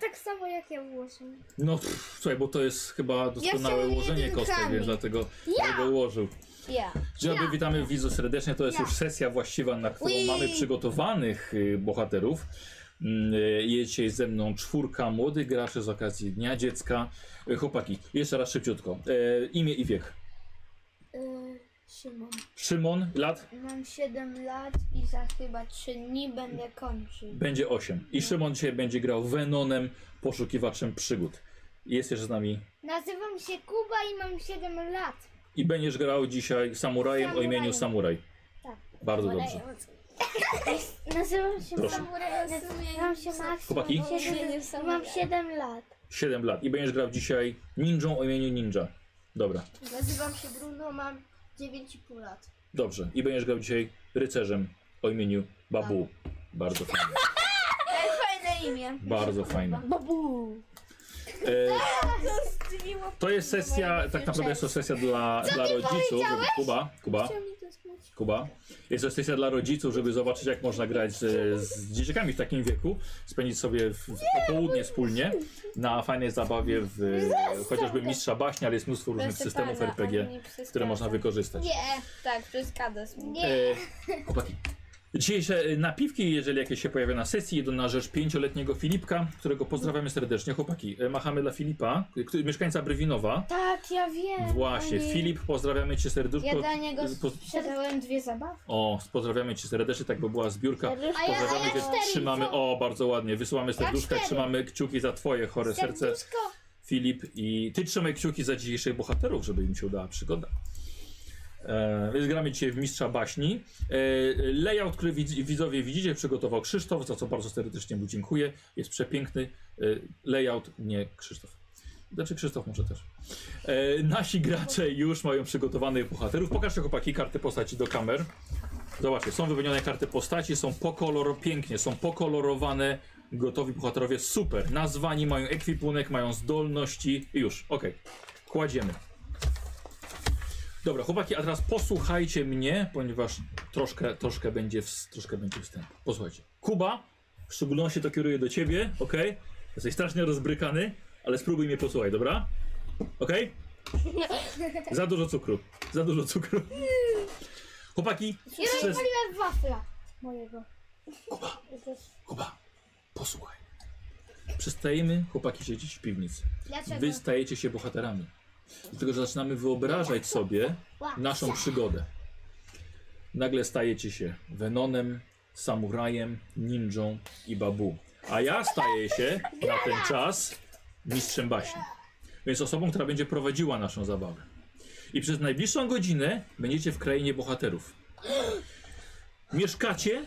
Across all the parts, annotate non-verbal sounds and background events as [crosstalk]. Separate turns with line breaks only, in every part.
Tak samo jak ja ułożę.
No pff, słuchaj, bo to jest chyba doskonałe
chciałem
łożenie
jedynka
kostek,
mi.
więc dlatego
Ja!
go ułożył.
Ja.
Dzień dobry, witamy widzów serdecznie. To jest
Ja.
już sesja właściwa, na którą
Ui.
mamy przygotowanych y, bohaterów. Mm, y, Jest dzisiaj ze mną czwórka młodych graczy z okazji Dnia Dziecka. Y, Chłopaki, jeszcze raz szybciutko. E, imię i wiek.
Y, Szymon.
Szymon, lat
Mam 7 lat i za chyba 3 dni będę kończył.
będzie 8. I Szymon dzisiaj będzie grał Venonem, poszukiwaczem przygód. Jest jeszcze z nami.
Nazywam się Kuba i mam 7 lat.
I będziesz grał dzisiaj samurajem o imieniu
Samurajem.
Samuraj.
Tak.
Bardzo dobrze.
Nazywam się
Proszę.
Samuraj. Nazywam się Max.
Chłopaki?
Mam siedem- Mam 7 lat.
7 lat. I będziesz grał dzisiaj ninją o imieniu Ninja. Dobra.
Nazywam się Bruno, mam 9,5 lat.
Dobrze. I będziesz grał dzisiaj rycerzem o imieniu Babu. Bardzo fajne.
Fajne imię.
Bardzo fajne.
Babu.
E, to jest sesja, tak naprawdę jest to sesja dla, dla rodziców. Żeby, Kuba, Kuba, Kuba. Jest to sesja dla rodziców, żeby zobaczyć jak można grać z, z dzieciakami w takim wieku. Spędzić sobie w, w popołudnie wspólnie na fajnej zabawie w chociażby Mistrza Baśni, ale jest mnóstwo różnych systemów RPG, które można wykorzystać.
Nie, tak, przeszkadza mi. Nie.
E, chłopaki. Dzisiejsze e, napiwki, jeżeli jakieś się pojawią na sesji, idą na rzecz pięcioletniego Filipka, którego pozdrawiamy serdecznie. Chłopaki, e, machamy dla Filipa, e, który, mieszkańca Brywinowa.
Tak, ja
E,
wiem.
Właśnie,
Oni-
Filip, pozdrawiamy cię serduszko.
Ja dla niego
e, po-
sprzedałem dwie zabawy.
O, pozdrawiamy cię serdecznie, tak by była zbiórka.
A ja, a
Pozdrawiamy
ja
cię,
cztery.
trzymamy,
co?
o, bardzo ładnie, wysyłamy serduszka,
cztery.
trzymamy kciuki za twoje chore serce,
Serduszko.
Filip. I ty trzymaj kciuki za dzisiejszych bohaterów, żeby im się udała przygoda. E, więc gramy dzisiaj w Mistrza Baśni. E, layout, który widz, widzowie widzicie, przygotował Krzysztof, za co bardzo serdecznie mu dziękuję. Jest przepiękny. E, layout, nie Krzysztof. Znaczy Krzysztof może też. E, nasi gracze już mają przygotowanych bohaterów. Pokażcie chłopaki karty postaci do kamer. Zobaczcie, są wymienione karty postaci, są pokolor, pięknie, są pokolorowane, gotowi bohaterowie, super. Nazwani, mają ekwipunek, mają zdolności i już, okej. Kładziemy. Dobra, chłopaki, a teraz posłuchajcie mnie, ponieważ troszkę, troszkę, będzie, w, troszkę będzie wstęp. Posłuchajcie. Kuba, w szczególności to kieruję do ciebie, okej? Jesteś strasznie rozbrykany, ale spróbuj mnie posłuchać, dobra? Okej? Za dużo cukru, za dużo cukru. Chłopaki,
Ja
przez...
rozwaliłem wafla mojego.
Kuba, Kuba, posłuchaj. Przestajemy, chłopaki, siedzieć w piwnicy.
Dlaczego?
Wy stajecie się bohaterami. Dlatego, że zaczynamy wyobrażać sobie naszą przygodę. Nagle stajecie się Venonem, Samurajem, Ninją i Babu. A ja staję się na ten czas mistrzem baśni. Więc osobą, która będzie prowadziła naszą zabawę. I przez najbliższą godzinę będziecie w krainie bohaterów. Mieszkacie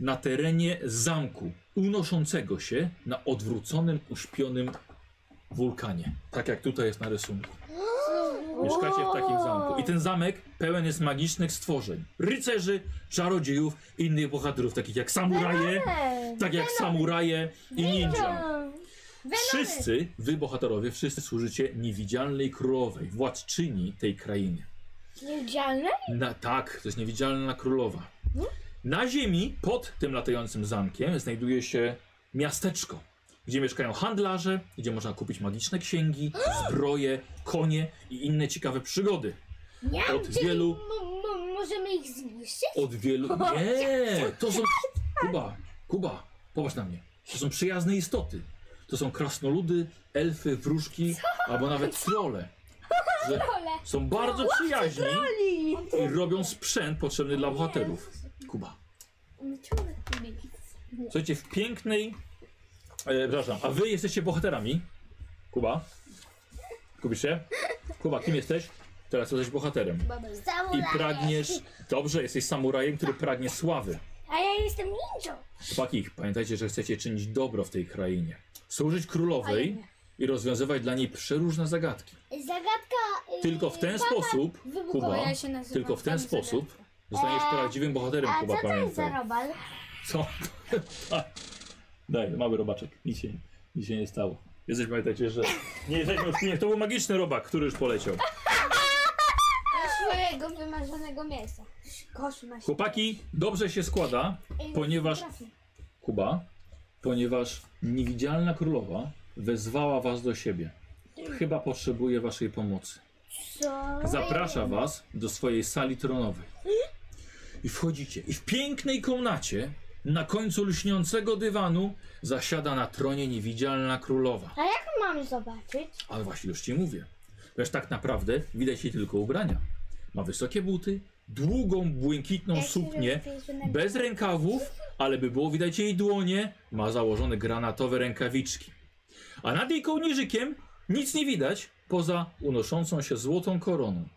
na terenie zamku unoszącego się na odwróconym, uśpionym wulkanie. Tak jak tutaj jest na rysunku. Mieszkacie w takim zamku. I ten zamek pełen jest magicznych stworzeń. Rycerzy, czarodziejów i innych bohaterów, takich jak samuraje, tak jak samuraje i ninja. Wszyscy, wy bohaterowie, wszyscy służycie niewidzialnej królowej, władczyni tej krainy.
Niewidzialne?
Na, tak, to jest niewidzialna królowa. Na ziemi, pod tym latającym zamkiem, znajduje się miasteczko, gdzie mieszkają handlarze, gdzie można kupić magiczne księgi, zbroje, konie i inne ciekawe przygody. Od wielu,
M- m- możemy ich zniszczyć?
od wielu... Nie! To są... Kuba, Kuba, popatrz na mnie. To są przyjazne istoty. To są krasnoludy, elfy, wróżki, albo nawet trole. Że
Pole.
są bardzo przyjaźni i robią sprzęt potrzebny dla bohaterów. Kuba. Słuchajcie, w pięknej. E, przepraszam, a wy jesteście bohaterami? Kuba? Kubisz się? Kuba, kim jesteś? Teraz jesteś bohaterem. I pragniesz. Dobrze, jesteś samurajem, który pragnie sławy.
A ja jestem ninją.
Chłopaki, pamiętajcie, że chcecie czynić dobro w tej krainie. Służyć królowej i rozwiązywać dla niej przeróżne zagadki.
Zagadka... y,
Tylko w ten
papa
sposób,
wybuchowa.
Kuba,
Ja się nazywam
tylko w ten
Pan
sposób zostaniesz prawdziwym bohaterem,
E, A
Kuba,
co to jest za
pamiętaj.
robal?
Co? [laughs] A, Daj, mały robaczek. Nic się, nic się nie stało. Jesteś, pamiętajcie, że nie jesteśmy w filmie. To był magiczny robak, który już poleciał.
Swojego wymarzonego mięsa. Kosz masz.
Chłopaki, dobrze się składa, ponieważ... Kuba, ponieważ niewidzialna królowa wezwała was do siebie. Chyba potrzebuje waszej pomocy.
Co?
Zaprasza was do swojej sali tronowej. I wchodzicie. I w pięknej komnacie, na końcu lśniącego dywanu, zasiada na tronie niewidzialna królowa.
A jak mam zobaczyć?
Ale właśnie już ci mówię. Wiesz, tak naprawdę widać jej tylko ubrania. Ma wysokie buty, długą, błękitną suknię, bez rękawów, ale by było widać jej dłonie, ma założone granatowe rękawiczki. A nad jej kołnierzykiem nic nie widać poza unoszącą się złotą koroną.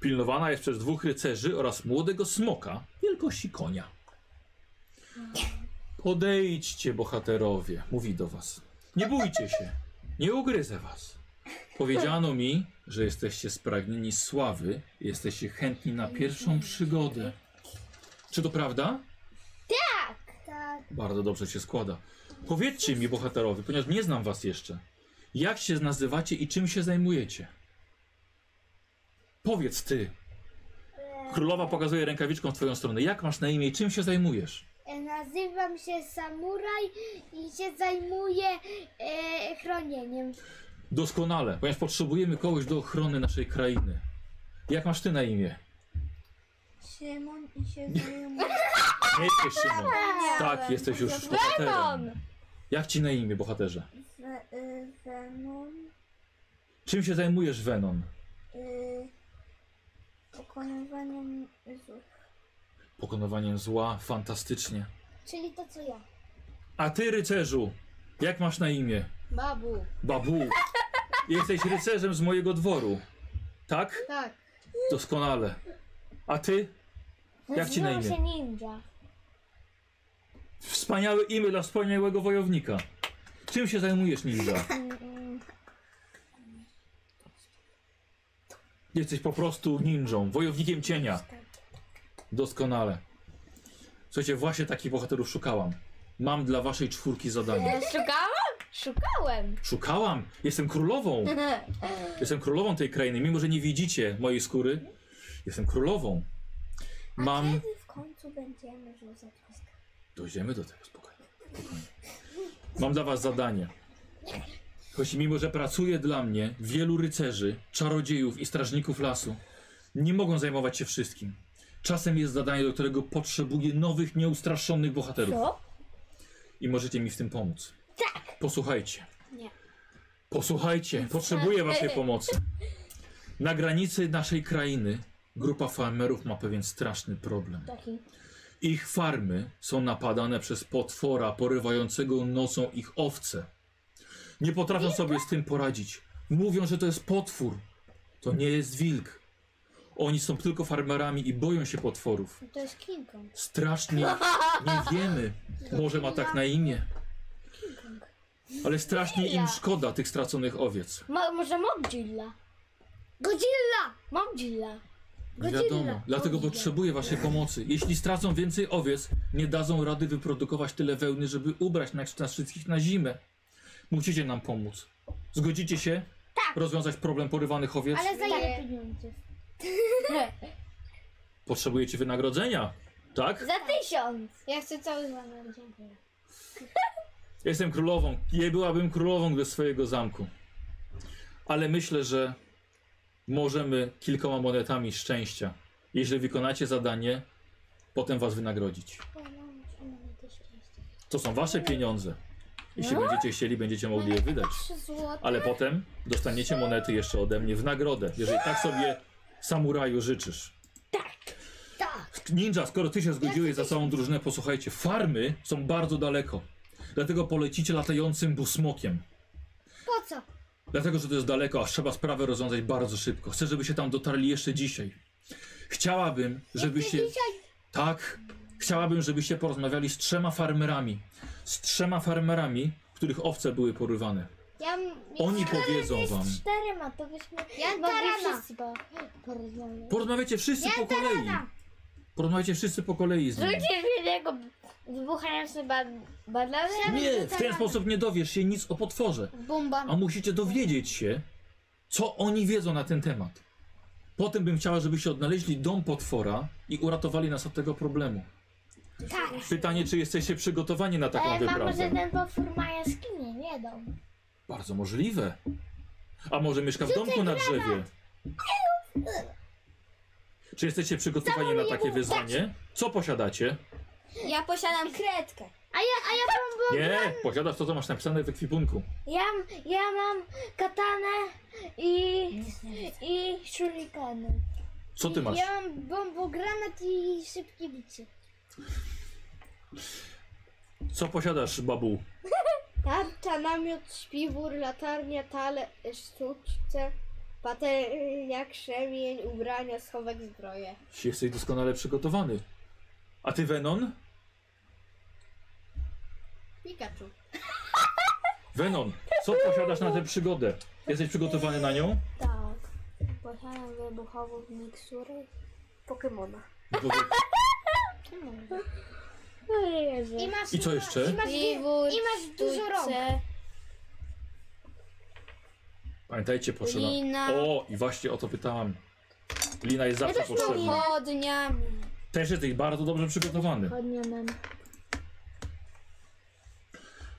Pilnowana jest przez dwóch rycerzy oraz młodego smoka wielkości konia. Podejdźcie, bohaterowie, mówi do was. Nie bójcie się, nie ugryzę was. Powiedziano mi, że jesteście spragnieni sławy, jesteście chętni na pierwszą przygodę. Czy to prawda?
Tak.
Bardzo dobrze się składa. Powiedzcie mi, bohaterowie, ponieważ nie znam was jeszcze, jak się nazywacie i czym się zajmujecie? Powiedz ty. Królowa pokazuje rękawiczką w twoją stronę. Jak masz na imię i czym się zajmujesz?
Nazywam się Samuraj i się zajmuję e, chronieniem.
Doskonale, ponieważ potrzebujemy kogoś do ochrony naszej krainy. Jak masz ty na imię?
Szymon i się zajmuje.
Nie jesteś Szymon. Tak, jesteś już bohaterem. Jak ci na imię, bohaterze?
y,
Zenon
Czym się zajmujesz, Venon?
y, pokonywaniem złych.
Pokonywaniem zła, fantastycznie.
Czyli to co ja.
A ty, rycerzu, jak masz na imię?
Babu,
Babu, jesteś rycerzem z mojego dworu. Tak?
tak.
Doskonale. A ty? Jak ci na
Nazywam
imię?
się ninja.
Wspaniałe imię dla wspaniałego wojownika. Czym się zajmujesz, ninja? Jesteś po prostu ninją, wojownikiem cienia. Doskonale. Słuchajcie, właśnie takich bohaterów szukałam. Mam dla waszej czwórki zadanie.
Szukałam? Szukałem.
Szukałam! Jestem królową! Jestem królową tej krainy, mimo że nie widzicie mojej skóry. Jestem królową. Mam.
Kiedy w końcu będziemy rzucać kostkę?
Dojdziemy do tego, spokojnie. spokojnie. Mam dla was zadanie. Choć mimo, że pracuje dla mnie wielu rycerzy, czarodziejów i strażników lasu, nie mogą zajmować się wszystkim. Czasem jest zadanie, do którego potrzebuję nowych, nieustraszonych bohaterów.
Co?
I możecie mi w tym pomóc. Tak! Posłuchajcie.
Nie.
Posłuchajcie, potrzebuję waszej pomocy. Na granicy naszej krainy grupa farmerów ma pewien straszny problem.
Taki.
Ich farmy są napadane przez potwora porywającego nocą ich owce. Nie potrafią sobie z tym poradzić. Mówią, że to jest potwór. To nie jest wilk. Oni są tylko farmerami i boją się potworów.
To jest King Kong.
Strasznie nie wiemy. Może ma tak na imię. Ale strasznie im szkoda tych straconych owiec.
Mo- może Mobdzilla?
Godzilla!
Mobdzilla.
Nie wiadomo. Dlatego potrzebuję waszej pomocy. Jeśli stracą więcej owiec, nie dadzą rady wyprodukować tyle wełny, żeby ubrać nas, nas wszystkich na zimę. Musicie nam pomóc. Zgodzicie się? Tak. Rozwiązać problem porywanych owiec?
Ale za ile
Nie.
pieniędzy?
Potrzebujecie wynagrodzenia? Tak?
Za tysiąc.
Ja chcę cały złam.
Dziękuję.
Jestem królową. Nie byłabym królową bez swojego zamku. Ale myślę, że możemy kilkoma monetami szczęścia, jeżeli wykonacie zadanie, potem was wynagrodzić. To są wasze pieniądze. Jeśli będziecie chcieli, będziecie mogli je wydać.
Trzy złote.
Ale potem dostaniecie monety jeszcze ode mnie w nagrodę, jeżeli tak sobie samuraju życzysz. Tak. Ninja, skoro ty się zgodziłeś za całą drużynę, posłuchajcie, farmy są bardzo daleko. Dlatego polecicie latającym busmokiem.
Po co?
Dlatego, że to jest daleko, a trzeba sprawę rozwiązać bardzo szybko. Chcę, żeby się tam dotarli jeszcze dzisiaj. Chciałabym, żebyście. Tak. Chciałabym, żebyście porozmawiali z trzema farmerami. Z trzema farmerami, których owce były porywane.
Ja
Oni powiedzą wam.
czterema, to byśmy
Ja
mogli
tarana.
wszyscy po- porozmawiać.
Porozmawiacie wszyscy po kolei. Porozmawiacie wszyscy po kolei z nimi.
Rzucisz jednego wybuchający ba banany?
Nie, w ten sposób nie dowiesz się nic o potworze.
Bomba.
A musicie dowiedzieć się, co oni wiedzą na ten temat. Potem bym chciała, żebyście odnaleźli dom potwora i uratowali nas od tego problemu.
Tak.
E,
Pytanie, czy jesteście przygotowani na taką
Ale mam,
wyprawę?
że ten potwór ma jaskinię, nie dom.
Bardzo możliwe. A może mieszka w domku na drzewie? Czy jesteście przygotowani na takie wyzwanie? Co posiadacie?
Ja posiadam kredkę.
A ja, a [laughs] ja mam, bo
Nie, posiadasz to, co masz napisane w ekwipunku.
ja, ja mam katanę i, i shurikany.
Co ty masz?
Ja mam bombogranat i szybkie bicie.
Co posiadasz, babu?
Tarcza, namiot, śpiwór, latarnia, tale, sztuczce, patelnia, krzemień, ubrania, schowek, zbroje.
Jesteś doskonale przygotowany. A ty, Venon?
Pikachu.
Venon, co posiadasz na tę przygodę? Jesteś przygotowany na nią?
Tak. Posiadam wybuchową miksurę Pokemona.
O Jezu.
I masz,
I co jeszcze?
I masz, i
Śpiwór,
masz dużo rąk.
sztućce,
Pamiętajcie, potrzeba.
Lina.
O, i właśnie o to pytałam. Lina jest zawsze potrzebna.
Pochodniami.
Też jesteś bardzo dobrze przygotowany.
Chodnia mam.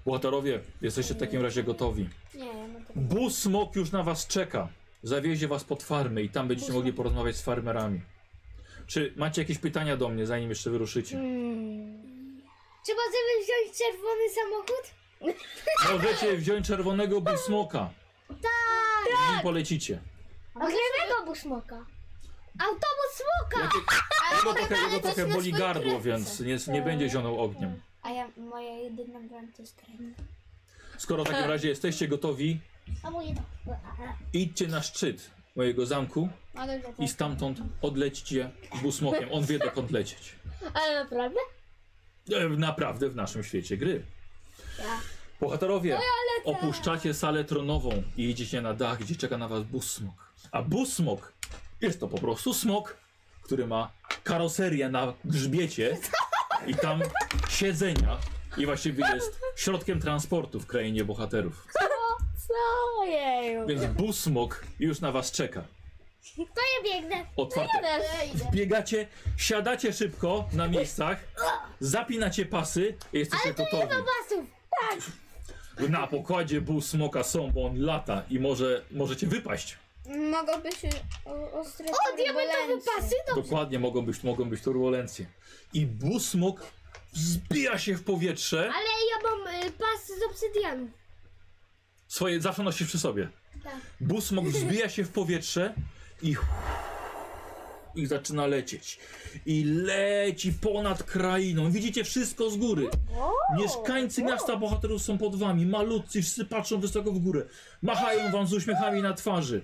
Bohaterowie, jesteście w takim razie gotowi.
Nie, ja mam tak.
Bus smok już na was czeka. Zawiezie was pod farmy i tam będziecie mogli porozmawiać z farmerami. Czy macie jakieś pytania do mnie, zanim jeszcze wyruszycie?
Czy możemy Hmm. wziąć czerwony samochód?
Możecie wziąć czerwonego busmoka. Tak! I polecicie.
Ogniewego busmoka. Autobus smoka!
Jakie, jego trochę, jego trochę boli gardło, więc nie, nie będzie zionął ogniem.
A ja, moja jedyna broń to jest trening.
Skoro w takim razie jesteście gotowi,
A moje to.
idźcie na szczyt mojego zamku
No
Ale dobra.
i stamtąd odlećcie busmokiem. On wie dokąd lecieć.
Ale naprawdę?
E, Naprawdę w naszym świecie gry. Bohaterowie, opuszczacie salę tronową i idziecie na dach, gdzie czeka na was busmok. A busmok jest to po prostu smok, który ma karoserię na grzbiecie i tam siedzenia i właściwie jest środkiem transportu w krainie bohaterów.
Co? Ojeju.
Więc busmok już na was czeka.
To ja biegnę.
Otwarte Biegacie, siadacie szybko na miejscach, zapinacie pasy i jesteście gotowi.
Pasów.
Na pokładzie był smoka są, bo on lata i może, możecie wypaść.
Mogłoby się o- ostre
O, diamentowe
turbulencje.
pasy. No.
Dokładnie mogą być, mogą być turbulencje. I busmok zbija się w powietrze.
Ale ja mam y, pas z obsydianu.
Swoje zawsze nosisz przy sobie. Busmok zbija się w powietrze i i zaczyna lecieć. I leci ponad krainą. Widzicie wszystko z góry. Mieszkańcy miasta bohaterów są pod wami. Malutcy wszyscy patrzą wysoko w górę. Machają wam z uśmiechami na twarzy.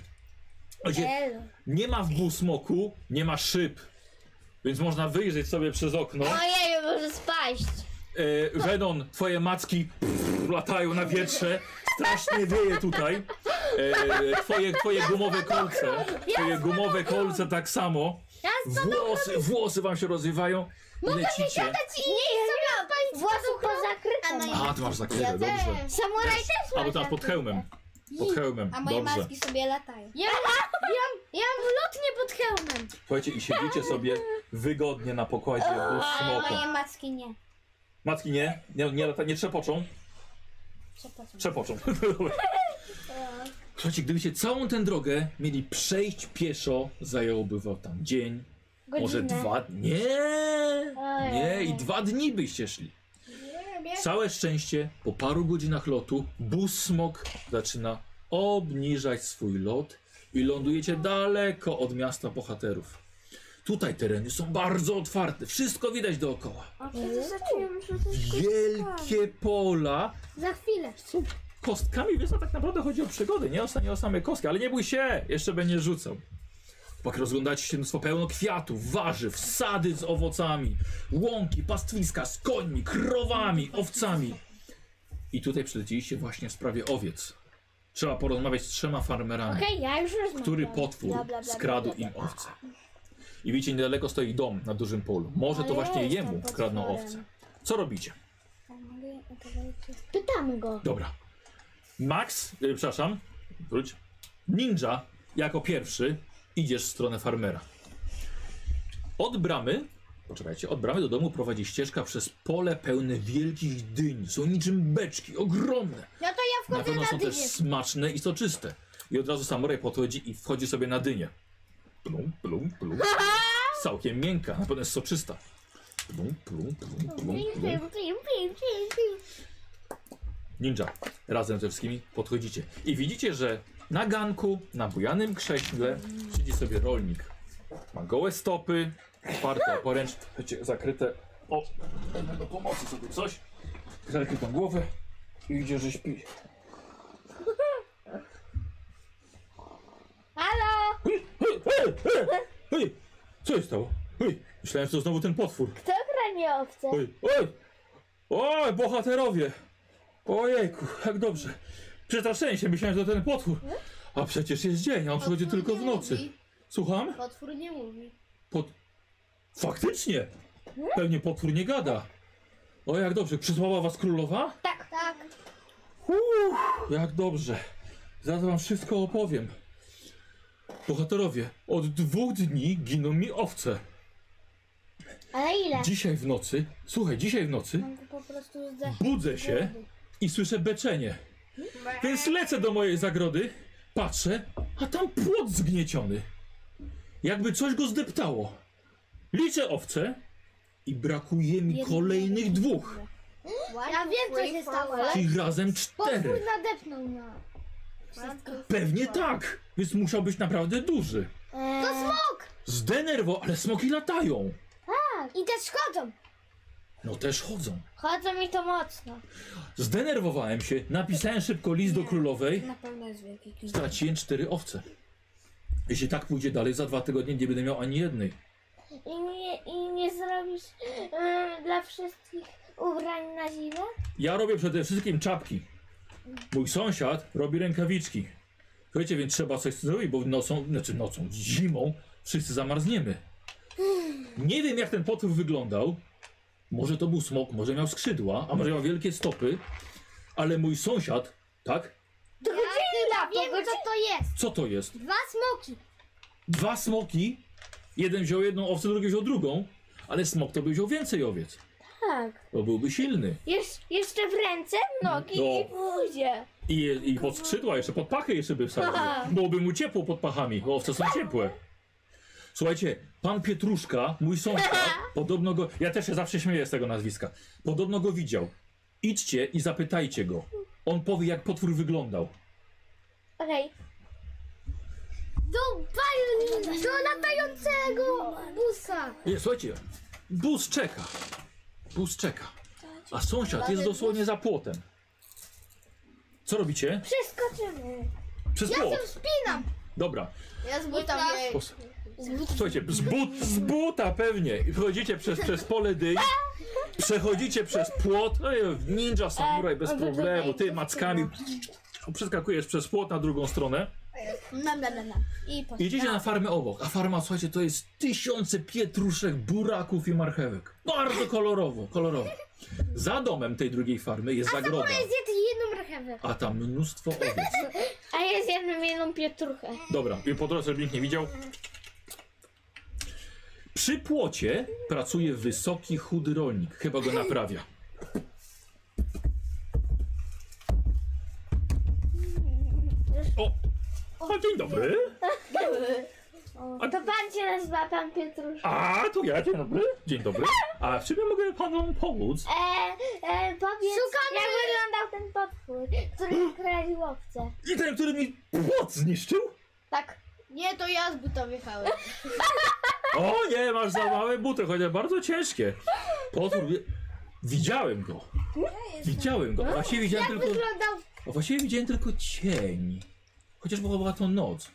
Gdzie
Elo.
nie ma w busmoku, nie ma szyb. Więc można wyjrzeć sobie przez okno.
Ojeju, może spaść.
E, Venon, twoje macki pff, latają na wietrze. Strasznie wieje tutaj. E, twoje, twoje gumowe kolce. Twoje gumowe kolce tak samo. Włosy, włosy wam się rozrywają. i Lecicie.
Ci nie chcę spaść. Włosów pozakryte.
A, ty masz zakryte, dobrze.
Samuraj też
A, bo teraz pod hełmem. Pod hełmem,
A moje
dobrze.
maski sobie latają.
Ja mam, ja, ja mam lotnie pod hełmem.
Słuchajcie, i siedzicie sobie wygodnie na pokładzie
[laughs]
u smoka.
Moje maski nie.
Matki nie, nie, nie, lata- nie trzepoczą.
Przepraszam.
Przepoczą. Słuchajcie, gdybyście całą tę drogę mieli przejść pieszo, zająłby wam tam dzień, może dwa dni. Nie! Nie, i dwa dni byście szli. Całe szczęście, po paru godzinach lotu, bus smok zaczyna obniżać swój lot i lądujecie daleko od miasta bohaterów. Tutaj tereny są bardzo otwarte, wszystko widać dookoła.
A kiedy zaczniemy rzucać
Wielkie pola,
Za chwilę.
kostkami, więc tak naprawdę chodzi o przygody, nie o, sa- nie o same kostki, ale nie bój się, jeszcze będzie rzucał. Pak rozglądacie się mnóstwo pełno kwiatów, warzyw, sady z owocami, łąki, pastwiska z końmi, krowami, owcami. I tutaj przylecieliście właśnie w sprawie owiec. Trzeba porozmawiać z trzema farmerami,
Okej, ja już rozmawiam.
który potwór
Bla, bla, bla,
skradł
bla, bla,
im owce. I widzicie, niedaleko stoi dom na dużym polu. Może to
Ale
właśnie
jest tam
jemu
potworem.
kradną owce. Co robicie?
Pytamy go.
Dobra. Max, y, przepraszam, wróć. Ninja jako pierwszy idziesz w stronę farmera. Od bramy, poczekajcie, od bramy do domu prowadzi ścieżka przez pole pełne wielkich dyń. Są niczym beczki, ogromne.
No to ja
Na pewno są też smaczne i soczyste. I od razu samuraj podchodzi i wchodzi sobie na dynię. Plum, plum, plum. Całkiem miękka, na pewno jest soczysta. Plum, plum, plum, plum, plum. Ninja, razem ze wszystkimi podchodzicie. I widzicie, że na ganku, na bujanym krześle siedzi sobie rolnik. Ma gołe stopy, otwarte poręcz, wiecie, zakryte. O, będę do pomocy sobie coś. Zakrytą głowę i idzie, że śpi.
Halo!
Hej, co się stało? Hej, myślałem, że to znowu ten potwór.
Kto branie owce?
Oj, oj! Oj, bohaterowie! Ojejku, jak dobrze. Przestraszyłem się, myślałem, że to ten potwór. A przecież jest dzień, a on przychodzi
Potwór
tylko
nie
w nocy.
mówi.
Słucham?
Potwór nie mówi.
Pot... Faktycznie! Pewnie potwór nie gada. O, jak dobrze. Przysłała was królowa?
Tak, tak.
Jak dobrze. Zaraz wam wszystko opowiem. Bohaterowie, od dwóch dni giną mi owce.
Ale ile?
Dzisiaj w nocy, słuchaj, dzisiaj w nocy
Po prostu zdech.
budzę się i słyszę beczenie. Więc lecę do mojej zagrody, patrzę, a tam płot zgnieciony. Jakby coś go zdeptało. Liczę owce i brakuje mi kolejnych dwóch.
Ja wiem, co się stało.
Czyli razem
Potwór
cztery.
nadepnął no. na.
Pewnie tak, więc musiał być naprawdę duży.
Eee. To smok!
Zdenerwo, ale smoki latają.
I też chodzą.
No też chodzą.
Chodzą mi to mocno.
Zdenerwowałem się, napisałem szybko list do królowej.
Na pewno jest wielki kij.
Straciłem cztery owce. Jeśli tak pójdzie dalej, za dwa tygodnie nie będę miał ani jednej.
I nie, i nie zrobisz em, dla wszystkich ubrań na zimę?
Ja robię przede wszystkim czapki. Mój sąsiad robi rękawiczki. Słuchajcie, więc trzeba coś zrobić, bo nocą, znaczy nocą, zimą wszyscy zamarzniemy. Nie wiem, jak ten potwór wyglądał. Może to był smok, może miał skrzydła, a może miał wielkie stopy. Ale mój sąsiad, tak?
Ja wiem, co to jest.
Co to jest?
Dwa smoki.
Dwa smoki. Jeden wziął jedną owcę, drugi wziął drugą. Ale smok to by wziął więcej owiec.
Tak.
Bo byłby silny.
Jesz, jeszcze w ręce, w nogi
No.
i w buzie.
I, I pod skrzydła jeszcze, pod pachy jeszcze by wsadził. Byłoby mu ciepło pod pachami, bo owce są ciepłe. Słuchajcie, pan Pietruszka, mój sąsiad, podobno go... Ja też się zawsze śmieję z tego nazwiska. Podobno go widział. Idźcie i zapytajcie go. On powie, jak potwór wyglądał.
Okej. Do, pal- do latającego busa.
Nie, słuchajcie, bus czeka. Bus czeka. A sąsiad jest dosłownie za płotem. Co robicie?
Przeskoczymy.
Przez płot.
Spinam.
Dobra.
Ja z butami. jej-
Pos- Słuchajcie, z, but, z buta pewnie. I Wchodzicie przez, przez pole dyń, przechodzicie przez płot. Ej, Ninja samuraj bez problemu. Ty mackami przeskakujesz przez płot na drugą stronę.
Nam, nam, nam, nam.
I po...
Idziecie na farmę obok, a farma, słuchajcie, to jest tysiące pietruszek, buraków i marchewek. Bardzo kolorowo, kolorowo. Za domem tej drugiej farmy jest zagroda,
Zjedz jedną marchewę.
a tam mnóstwo owiec.
A ja zjadłem jedną pietruchę.
Dobra, i po drodze, żeby nikt nie widział. Przy płocie pracuje wysoki, chudy rolnik. Chyba go naprawia. O! A dzień dobry!
O, to pan się nazywa pan Pietruszka.
A, to ja, dzień dobry. Dzień dobry. A w czym ja mogę panu pomóc?
E, e, powiedz, jak wyglądał ten potwór, [laughs] który ukradził owce.
I ten, który mi płot zniszczył?
Tak.
Nie, to ja z buta wjechałem.
O nie, masz za małe buty, chociaż bardzo ciężkie. Potwór... Widziałem go. Widziałem go. Właściwie widziałem tylko...
Wyglądał
A właściwie widziałem tylko cień. Chociaż była, była to noc.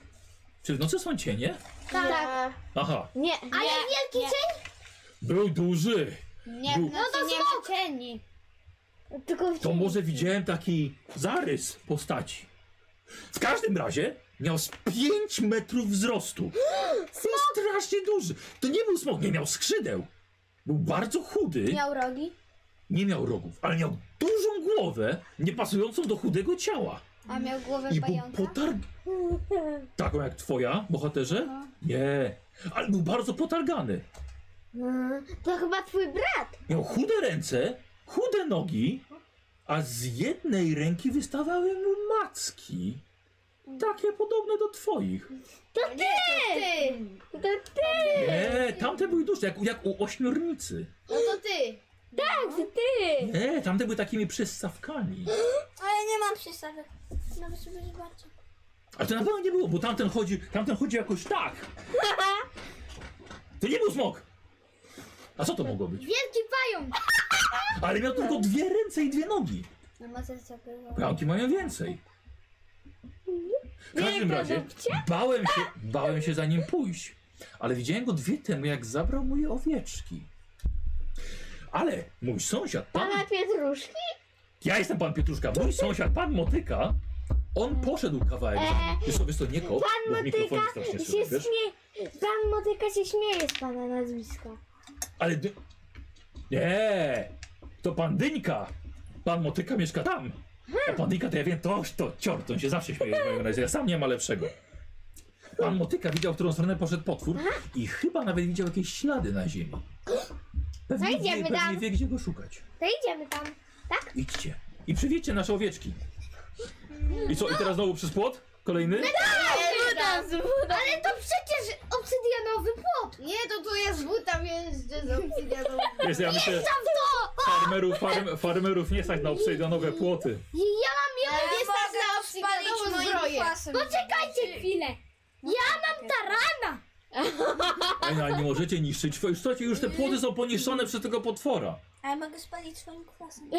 Czy w nocy są cienie?
tak.
Aha.
Nie, [laughs] ale wielki nie. cień.
Był duży.
Nie,
Był-
no to nie ma cieni.
Tylko w
To
cieniu.
może widziałem taki zarys postaci. W każdym razie miał z 5 metrów
[gasps]
wzrostu. Smok! Strasznie duży. To nie był smok, nie miał skrzydeł. Był bardzo chudy,
Miał rogi.
nie miał rogów, ale miał dużą głowę, nie pasującą do chudego ciała.
A miał głowę
I był
pająka?
potarg... Taką jak twoja, bohaterze? Nie. Ale był bardzo potargany.
To chyba twój brat.
Miał chude ręce, chude nogi a z jednej ręki wystawały mu macki. Takie podobne do twoich.
To ty! ty!
To ty!
Nie, tamte były duże, jak, jak u ośmiornicy.
No to ty!
Tak, to ty!
Nie, tamte były takimi przystawkami.
Ale nie mam No, przystawek. Nawet sobie zobaczę.
A to na pewno nie było, bo tamten chodzi, tamten chodzi jakoś tak. To nie był smok. A co to mogło być?
Wielki pająk!
Ale miał tylko dwie ręce i dwie nogi.
No ma coś takiego.
Pająki mają więcej. W każdym razie bałem się, bałem się za nim pójść. Ale widziałem go dwie temu, jak zabrał moje owieczki. Ale mój sąsiad, pan
Pana Pietruszki?
Ja jestem pan Pietruszka, mój sąsiad, pan Motyka, on poszedł kawałek za mną. Wiesz co, wiesz co, nie kop, bo
E, Pan
w mikrofonie
Motyka
strasznie
się
słyszę, wiesz?
śmieje. Pan Motyka się śmieje z pana nazwiska.
Ale... dy- Nie, to pan Dyńka. Pan Motyka mieszka tam.
Hmm.
A pan Dyńka to ja wiem, toż to ciort, on się zawsze śmieje z mojego nazwiska. Ja sam nie ma lepszego. Pan Motyka widział, w którą stronę poszedł potwór
Hmm.
i chyba nawet widział jakieś ślady na ziemi. Pewnie,
No idziemy
wie, pewnie
tam.
wie, gdzie go szukać.
To idziemy tam.
Idźcie. I przywiedźcie nasze owieczki. I co, i teraz znowu przez płot?
No
Kolejny?
Ale to przecież obsydianowy płot! Nie, to tu jest buta, więc to jest obsydianowy. [laughs]
Jest, ja myślę, farmerów, farm, farmerów nie stać na obsydianowe płoty.
I Ja mam
Ale
Nie
jest
stać na
na
obsydianową
obsydianową
zbroję.
No
zbroję!
Poczekajcie chwilę. Ja mam tarana.
Ej, no, ale nie możecie niszczyć. Już, słuchajcie, już te płoty są poniszczone przez tego potwora.
Ale mogę spalić swoim kwasem.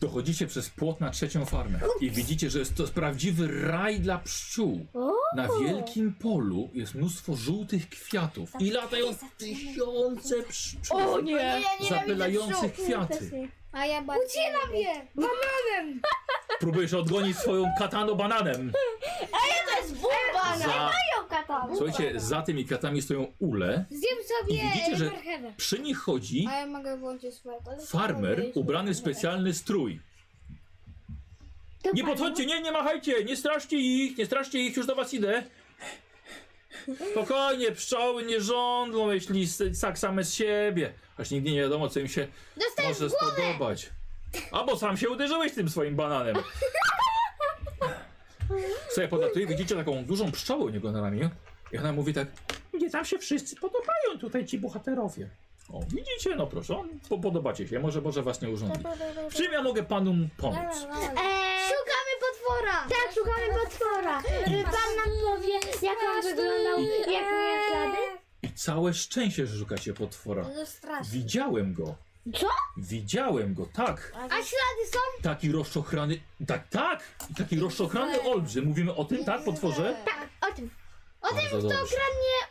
Dochodzicie przez płot na trzecią farmę i widzicie, że jest to prawdziwy raj dla pszczół. Na wielkim polu jest mnóstwo żółtych kwiatów i latają tysiące pszczół
No Nie, ja nie
zapylających
Też
kwiaty.
nie.
A ja bardzo.
Ucinam je!
Próbujesz odgonić swoją katano bananem.
To jest bulbana!
Za,
Pająka tam.
słuchajcie, za tymi kwiatami stoją ule
Zjem
i
sobie
widzicie, że
marchewę.
przy nich chodzi
A ja mogę włączyć swoje kolor.
Farmer ubrany w specjalny strój.
To
Nie
pan-
podchodźcie, nie, nie machajcie, nie straszcie ich, nie straszcie ich, już do was idę. Spokojnie, pszczoły nie żądlą, jeśli s- tak same z siebie. Aż nigdy nie wiadomo, co im się może spodobać. Albo sam się uderzyłeś tym swoim bananem. Sobie podatuje, widzicie taką dużą pszczołę u niego na ramieniu. I ona mówi tak, nie tam się wszyscy podobają tutaj ci bohaterowie. O, widzicie, no proszę, on- po- podobacie się, może, może was nie urządzi. W czym ja mogę panu pomóc?
Eee,
Szukamy potwora!
tak, szukamy potwora. Pan nam powie, jak on wyglądał, jak miał ślady.
I całe szczęście, że szukacie potwora.
To straszne.
Widziałem go.
Co?
Widziałem go, tak.
A ślady są?
Taki rozczochrany, tak, tak. I taki rozczochrany olbrzym. Mówimy o tym, tak, potworze?
Tak, o tym.
O tym, kto
Nie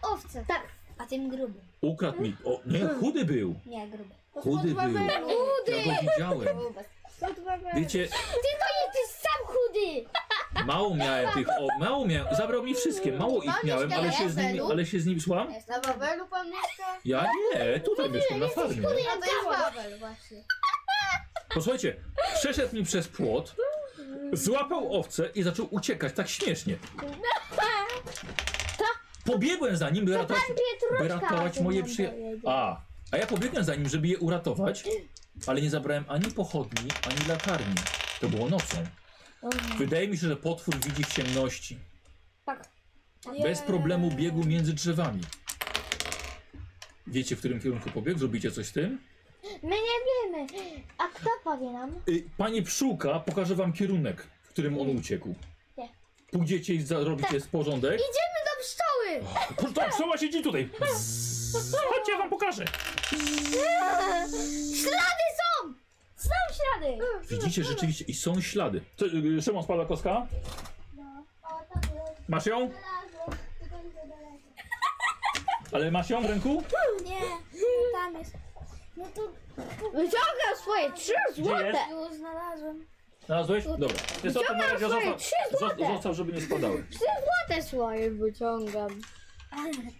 owce.
Tak.
A tym grubym.
Ukradł mi, o, nie, chudy był.
Nie, gruby.
Chudy był. Ja go widziałem. Wiecie,
Ty sam chudy.
mało
Tak.
miałem tych, o, mało miałem, zabrał mi wszystkie, mało ich miałem, ale się z nimi, ale się z nimi, słucham?
Na Wawelu pan mieszka?
Ja nie, tutaj mieszkam, na farmie.
A to jest Wawel właśnie.
Posłuchajcie, przeszedł mi przez płot, złapał owcę i zaczął uciekać tak śmiesznie. Pobiegłem za nim, by ratować, by
Pietruszka o
ratować
tym
moje
nam
przyjaciół.
powiedział.
A, a ja pobiegłem za nim, żeby je uratować, ale nie zabrałem ani pochodni, ani latarni. To było nocą. Wydaje mi się, że potwór widzi w ciemności.
Tak.
Bez problemu biegł między drzewami. Wiecie, w którym kierunku pobiegł? Zrobicie coś z tym?
My nie wiemy. A kto powie nam?
Y, Pani Pszczółka pokaże wam kierunek, w którym on uciekł.
Nie. Tak.
Pójdziecie i zarobicie porządek.
Do pszczoły!
Proszę, tak, pszczoła siedzi tutaj. Bzzz. Chodźcie, ja wam pokażę.
Są ślady.
Widzicie rzeczywiście, i są ślady. Co, y, Szymon spadła kostka? Masz ją? Ale masz ją w ręku?
Nie, tam jest. No to
Wyciągam swoje trzy
Gdzie jest?
złote.
już znalazłem.
Znalazłeś? Dobra. Wiesz co, to na razie
swoje
zostaw,
trzy złote.
zo- zostaw, żeby nie spadały.
Złote swoje wyciągam.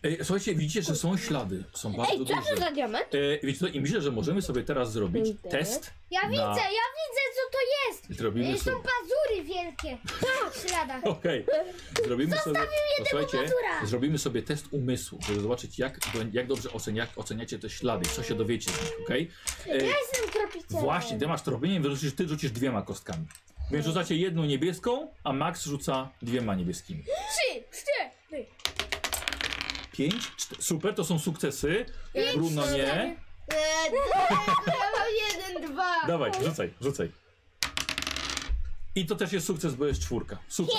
Ej, słuchajcie, widzicie, że są ślady. Są bardzo
Ej, co
duże.
to za diament?
E, wiecie co, i myślę, że możemy sobie teraz zrobić
Idę.
test.
Ja
Na-
widzę, ja widzę co to jest!
Y,
Zrobimy
Są
sobie.
pazury wielkie. W śladach.
Okej. Zrobimy sobie. Posłuchajcie,
matura.
zrobimy sobie test umysłu, żeby zobaczyć, jak, do- jak dobrze ocenia, oceniacie te ślady, co się dowiecie z nich, okej? E,
Jestem tropicielem.
Właśnie, ty masz tropienie, wyrzucisz, ty rzucisz dwiema kostkami. Więc rzucacie jedną niebieską, a Max rzuca dwiema niebieskimi.
Trzy, cztery.
Pięć, czte- super, to są sukcesy.
no
Bruno nie.
Eee, to ja mam jeden, dwa.
Tak,
Dawaj, rzucaj, rzucaj. I to też jest sukces, bo jest czwórka. Super.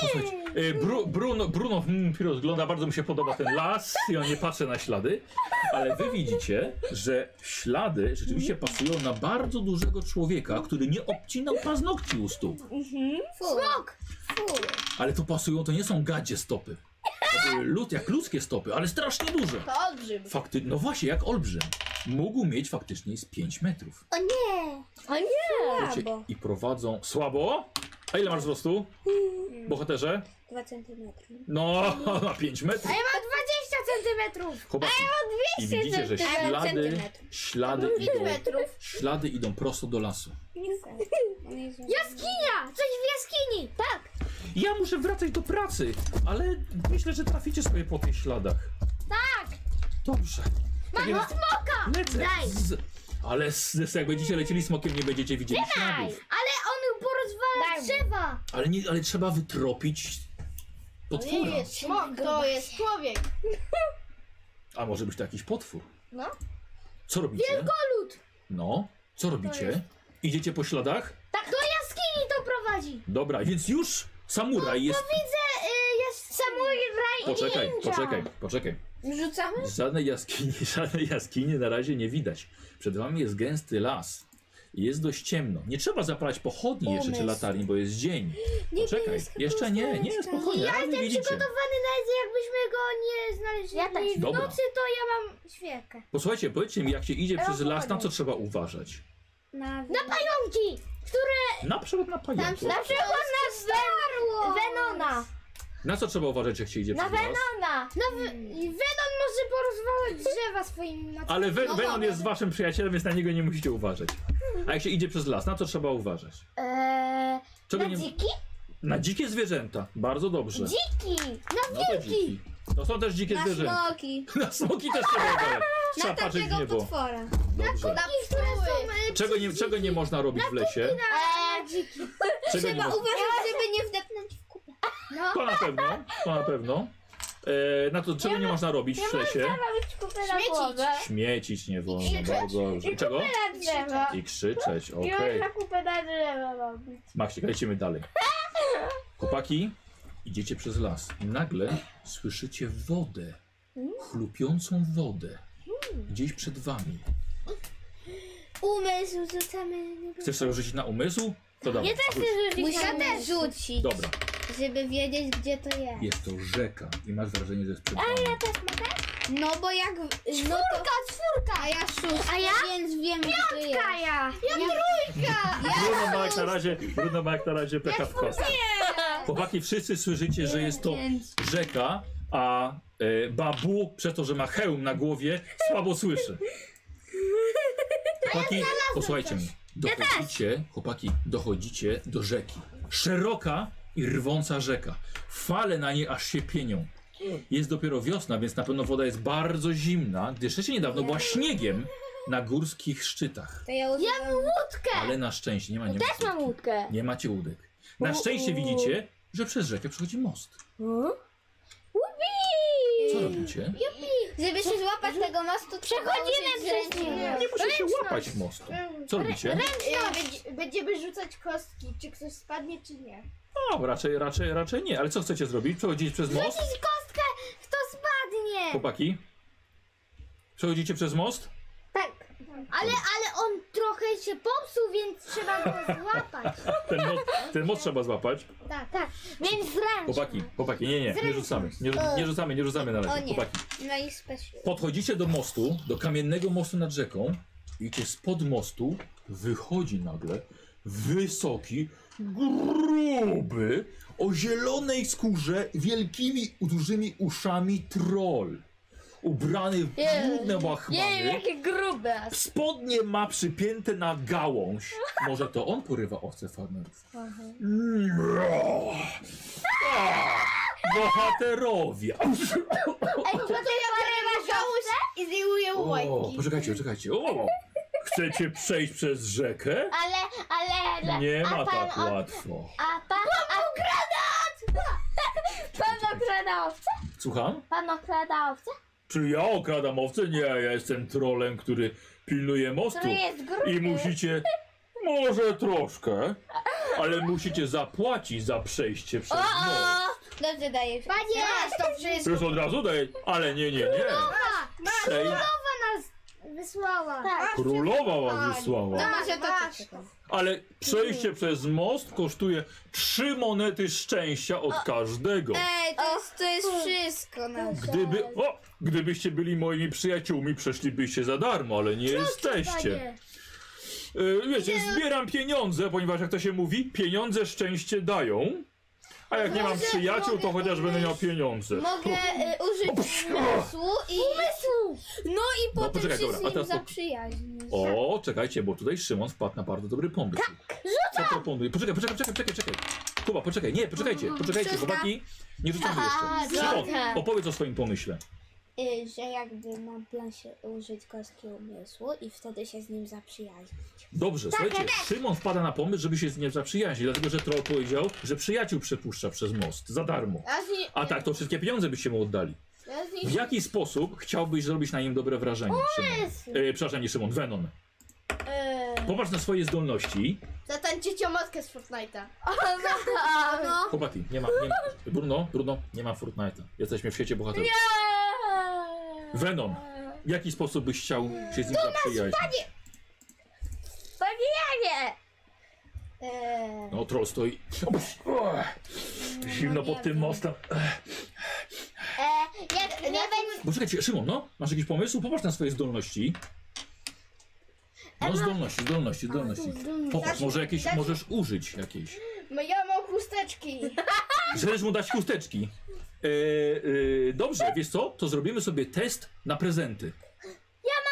Posłuchajcie, y, Bru, Bruno, Bruno hmm, się rozgląda, bardzo mu się podoba ten las i on nie patrzy na ślady, ale wy widzicie, że ślady rzeczywiście pasują na bardzo dużego człowieka, który nie obcinał paznokci u stóp.
Smok.
Ale to pasują, to nie są gadzie stopy. To były lud, jak ludzkie stopy, ale strasznie duże.
To olbrzym.
Fakty, no właśnie, jak olbrzym. Mógł mieć faktycznie z 5 metrów.
O nie!
O nie!
Słuchajcie, I prowadzą. Słabo? A ile masz wzrostu? Hmm. Bohaterze?
[laughs]
2 centymetry.
No, [laughs] na 5 metrów.
20 centymetrów.
Chłopaki. I widzicie, że ślady,
centymetrów.
ślady idą,
metrów.
ślady idą prosto do lasu.
Jaskinia! Coś w jaskini. Tak.
Ja muszę wracać do pracy, ale myślę, że traficie sobie po tych śladach. Tak! Dobrze. Mam smoka! Lecę. Z... Ale z, z, jak będziecie lecieli smokiem, nie będziecie widzieli śladów.
Ale on porozwala drzewa.
Ale, nie, ale trzeba wytropić potwora.
smok. To jest człowiek.
A może być to jakiś potwór?
No.
Co robicie? Wielkolud! No, co robicie? Idziecie po śladach?
Tak do jaskini to prowadzi. y,
Dobra, więc już samuraj jest.
Jest samuraj
Poczekaj, poczekaj, poczekaj.
Rzucamy?
Żadnej jaskini, [laughs] żadnej jaskini na razie nie widać. Przed wami jest gęsty las. Jest dość ciemno. Nie trzeba zapalać pochodni jeszcze czy
Pomysł.
latarni, bo jest dzień.
Nie,
Poczekaj,
jest chyba
jeszcze nie, nie,
straszne.
spokojnie. Ja jestem
przygotowany nawet jakbyśmy go nie znaleźli.
Ja tak też.
W
Dobra.
nocy to ja mam świerkę.
Posłuchajcie, powiedzcie mi, jak się idzie przez las, na co trzeba uważać?
Na,
Pająki!
Na przykład na pająków.
Na przykład na starło!
Venona.
Na co trzeba uważać, jak się idzie
Na
przez las?
Venona!
No, w- i Venom może porozwalać drzewa swoim macem.
Ale Ven
No
Venom
dobra.
jest waszym przyjacielem, więc na niego nie musicie uważać. A jak się idzie przez las, na to trzeba uważać.
Eee,
Czego
na
nie...
dziki?
na dzikie zwierzęta. Bardzo dobrze.
Dziki!
no to dziki. To są też dzikie
na
zwierzęta.
smoki.
[laughs] Na smoki też trzeba uważać. Trzeba
Na
patrzeć w
takiego
niebo.
potwora.
Dobrze.
Na które są... e,
Czego nie, czego nie można robić w lesie?
Eee,
Czego nie
Trzeba
można...
uważać, żeby nie wdepnąć w kupę. No.
To na pewno. To na pewno. E, na to czego nie można robić w lesie?
robić kupę na
Śmiecić.
głowę.
Śmiecić nie wolno. Bardzo dobrze. Czego?
Na drzewo.
I krzyczeć,
I
okej.
można kupę na drzewo robić.
Maksik, lecimy dalej. Chłopaki, idziecie przez las. Nagle słyszycie wodę. Chlupiącą wodę. Gdzieś przed wami.
Umysł rzucamy.
Chcesz sobie rzucić na umysł? To dawaj.
Ja też
rzuć.
chcę rzucić na
Musimy
głowę.
też rzucić,
Dobra,
żeby wiedzieć, gdzie to jest.
jest to rzeka i masz wrażenie, że jest przed wami.
No bo jak... No to... czwórka! A ja szóstka,
A ja?
więc wiem, gdzie to jest.
Kaja!
Bruno ma jak na razie, Bruno ma jak na razie peka w kostach. Chłopaki, wszyscy słyszycie, że jest to rzeka, a e, babu, przez to, że ma hełm na głowie, słabo słyszy. Chłopaki, posłuchajcie mnie. Dochodzicie, chłopaki, dochodzicie do rzeki. Szeroka i rwąca rzeka. Fale na niej aż się pienią. Jest dopiero wiosna, więc na pewno woda jest bardzo zimna, gdyż jeszcze niedawno była śniegiem na górskich szczytach.
To ja używam...
Ale na szczęście nie ma nie ma
Tak. Też mam łódkę.
Nie macie łódek. Na szczęście widzicie, że przez rzekę przechodzi most. Co robicie?
Żeby się złapać tego mostu,
Przechodzimy przez niego.
Nie musicie łapać mostu. Co robicie?
E, będzie- Będziemy rzucać kostki, czy ktoś spadnie, czy nie.
No, raczej, raczej, raczej nie. Ale co chcecie zrobić? Przechodzić przez most?
Kto spadnie?
Chłopaki? Przechodzicie przez most?
Tak. Ale, ale on trochę się popsuł, więc trzeba go złapać.
Ten most, ten most trzeba złapać.
[laughs] Tak, tak.
Więc zręcz.
Chłopaki, chłopaki, nie, nie, nie rzucamy. Nie, rzu- nie rzucamy, nie rzucamy na
O
razie.
nie.
Chłopaki.
No i special.
Podchodzicie do mostu, do kamiennego mostu nad rzeką i tu spod mostu wychodzi nagle wysoki, gruby, o zielonej skórze, wielkimi, dużymi uszami troll. ubrany w brudne łachmany.
jakie grube.
Spodnie ma przypięte na gałąź. Może to on porywa owce farmerów. Mrooo. Ah, Bohaterowie!
No to ja biorę żałuś i zdejmuję
O,
łajki.
poczekajcie, poczekajcie.
[laughs]
O, chcecie przejść przez rzekę?
Ale, ale, ale.
Nie
a
ma
pan
tak
od-
łatwo.
A pan. Pan okrada! [laughs] Pan okrada owce?
Słucham?
Pan okrada owce?
Czy ja okradam owce? Nie, ja jestem trolem, który pilnuje mostu.
Który jest gruby?
I musicie, może troszkę, ale musicie zapłacić za przejście przez most.
Dobrze daje.
Panie! Masz to wszystko.
Już od razu daj, ale nie, nie, nie. Przej...
Wysłała.
Tak.
Królowa was wysłała.
może to
Masz.
też.
Ale przejście przez most kosztuje trzy monety szczęścia od każdego.
e,
Ej, to jest, to jest wszystko nasze.
Gdyby, o, gdybyście byli moimi przyjaciółmi, przeszlibyście za darmo, ale nie jesteście. Y, Wiecie, zbieram pieniądze, ponieważ jak to się mówi, pieniądze szczęście dają. A jak nie mam
Może
przyjaciół, to
mogę
chociaż będę miał pieniądze.
Mogę y, użyć umysłu i... Umysłu! No i potem
poczekaj,
się
dobra, a
z nim
teraz po-
zaprzyjaźnić.
O, czekajcie, bo tutaj Szymon wpadł na bardzo dobry pomysł.
Tak,
Co proponuję? Poczekaj, poczekaj, poczekaj, poczekaj, czekaj. Kuba, poczekaj, nie, poczekajcie,
Mm,
poczekajcie,
Wszystko.
chłopaki. Nie rzucamy jeszcze.
dobra.
Szymon, opowiedz o swoim pomyśle.
Y, że jakby mam plan się użyć kostki umysłu i wtedy się z nim zaprzyjaźnić.
Dobrze, słuchajcie, Szymon wpada na pomysł, żeby się z nim zaprzyjaźnić, dlatego że troll powiedział, że przyjaciół przepuszcza przez most za darmo.
Ja zni-
A tak, to wszystkie pieniądze byście mu oddali.
ja zni-
W jaki sposób chciałbyś zrobić na nim dobre wrażenie, Szymon? E, przepraszam, nie Szymon, Venon.
Y,
Popatrz na swoje zdolności.
Zatańczycie matkę z Fortnite'a.
No.
Chłopaki, nie ma, nie ma. Bruno, Bruno, nie ma Fortnite'a. Jesteśmy w świecie bohaterów. Venon, w jaki sposób byś chciał się z nim zaprzyjaźnić?
Panie!
Y,
Eee,
No, troll stoi. Zimno pod tym mostem.
E, jak
y,
nie będzie.
Poczekajcie, Szymon, no? Masz jakiś pomysł? Popatrz na swoje zdolności. No, zdolności, zdolności, zdolności. Popatrz, może jakieś, możesz użyć jakiejś.
no ja mam chusteczki.
Chcesz mu dać chusteczki. E, e, dobrze, wiesz co? To zrobimy sobie test na prezenty.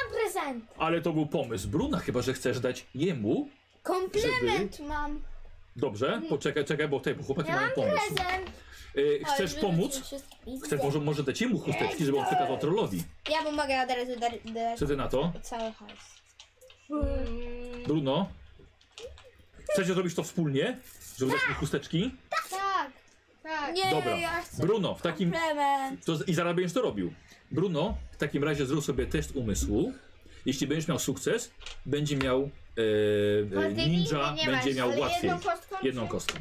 Mam prezent.
Ale to był pomysł Bruna, chyba że chcesz dać jemu, żeby...
Komplement mam.
Dobrze, poczekaj, czekaj, bo tutaj bo chłopaki mają pomysł.
Prezent.
E, chcesz pomóc? Chcesz, może, może dać jemu chusteczki, żeby on przekazał trollowi.
Ja mu mogę od razu dać
Co ty na to?
cały hajs.
Bruno? Chcecie zrobić to wspólnie? Żeby dać mu chusteczki?
Tak, tak.
Nie,
Dobra.
ja chcę
Bruno, w takim...
Tak. komplement.
To, z- I zaraz będziesz to robił. Bruno, w takim razie zrób sobie test umysłu. Jeśli będziesz miał sukces, będzie miał e, e,
Każdej
ninja,
nigdy nie
będzie
masz,
miał
ale
łatwiej.
jedną kostką
Jedną
się-
kostką.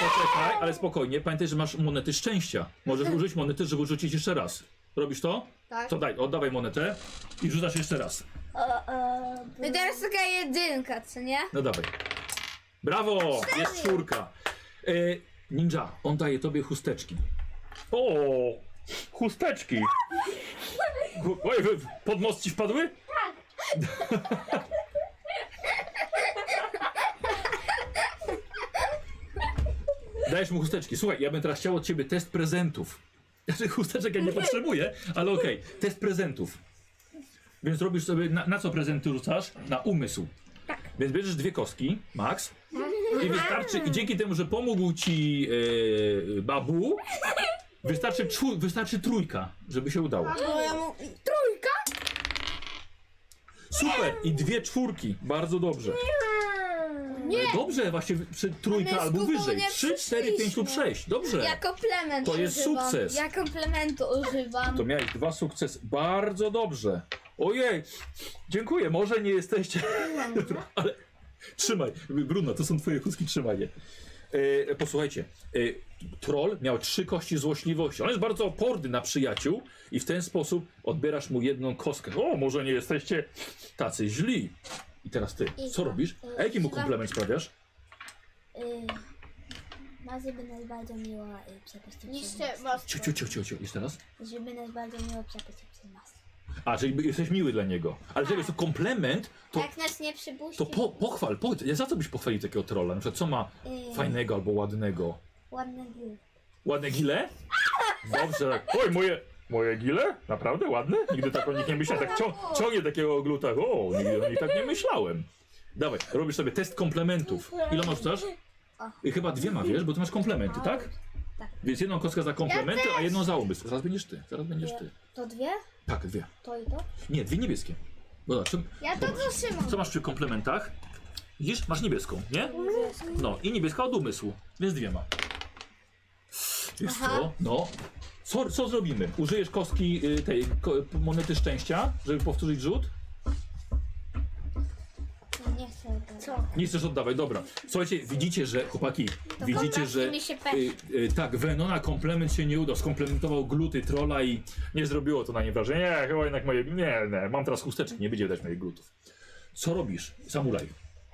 Poczekaj, ale spokojnie. Pamiętaj, że masz monety szczęścia. Możesz użyć monety, żeby rzucić jeszcze raz. Robisz to?
Tak.
To daj, oddawaj monetę i rzucasz jeszcze raz.
No i teraz taka jedynka, co nie?
No dawaj. Brawo! Jest czwórka. E, ninja, on daje tobie chusteczki. O! Chusteczki! Chu- Oj, wy- pod most ci wpadły? Tak. Dajesz mu chusteczki. Słuchaj, ja bym teraz chciał od ciebie test prezentów. Znaczy chusteczek ja nie potrzebuję, ale okej. Test prezentów. Więc robisz sobie, na, na co prezenty rzucasz? Na umysł. Więc bierzesz dwie kostki, max. I wystarczy, i dzięki temu, że pomógł ci e, babu, wystarczy, czwór, wystarczy trójka, żeby się udało.
No,
Super! I dwie czwórki, bardzo dobrze. Nie! Dobrze, właśnie przy
Ale
trójka
z
albo
Kubą
wyżej.
nie
Trzy, cztery, pięć lub
przyszliśmy.
sześć. Dobrze.
Ja komplement
To jest
używam.
sukces.
Ja komplementu używam.
To miałeś dwa sukcesy. Bardzo dobrze. Ojej, dziękuję. Może nie jesteście. [laughs] Ale trzymaj. Bruno, to są twoje kuski, trzymaj je. E, posłuchajcie, e, troll miał trzy kości złośliwości. On jest bardzo oporny na przyjaciół i w ten sposób odbierasz mu jedną kostkę. O, może nie jesteście tacy źli. I teraz ty, co robisz? A jaki mu komplement sprawiasz?
Y,
Żeby nas bardzo miło y, przepuścić.
Niszczę most.
Ciu, ciu, ciu, ciu, ciu. Jeszcze raz.
Żeby nas bardzo miło przepuścić przez nas.
A, czyli jesteś miły dla niego. Ale żeby to komplement, to
Jak nas nie przypuści,
To po, pochwal, powiedz, ja za co byś pochwalił takiego
y,
trolla? Na przykład co ma fajnego albo ładnego?
ładne gry.
Ładne gile? Dobrze, tak. Oj, moje, moje gile? Naprawdę ładne? Nigdy tak o nich nie myślałem. Tak cią, ciągnie takiego ogluta. O, nigdy o nich tak nie myślałem. Dawaj, robisz sobie test komplementów. Ile masz rzucasz? I Chyba dwiema, wiesz, bo ty masz komplementy, tak?
Tak.
Więc jedną kostkę za komplementy, a jedną za umysł. Zaraz będziesz ty, zaraz będziesz ty.
To dwie?
Tak, dwie.
To i to?
Nie, dwie niebieskie. Bo zobacz, czym-
Ja to
Dobra.
zatrzymam.
co masz przy komplementach? Widzisz, masz niebieską, nie? No i niebieska od umysłu, więc dwiema. Wiesz
Aha.
co? No. Co, co zrobimy? Użyjesz kostki y, tej ko, monety szczęścia, żeby powtórzyć rzut?
No nie chcę tego. Co?
Nie chcesz oddawać, dobra. Słuchajcie, widzicie, że chłopaki, widzicie, że
mi się
y, y, tak, Venona komplement się nie udał, skomplementował gluty trolla i nie zrobiło to na nie wrażenia. Nie, chyba jednak moje, nie, nie, mam teraz chusteczki, nie będzie dać moich glutów. Co robisz, samuraj?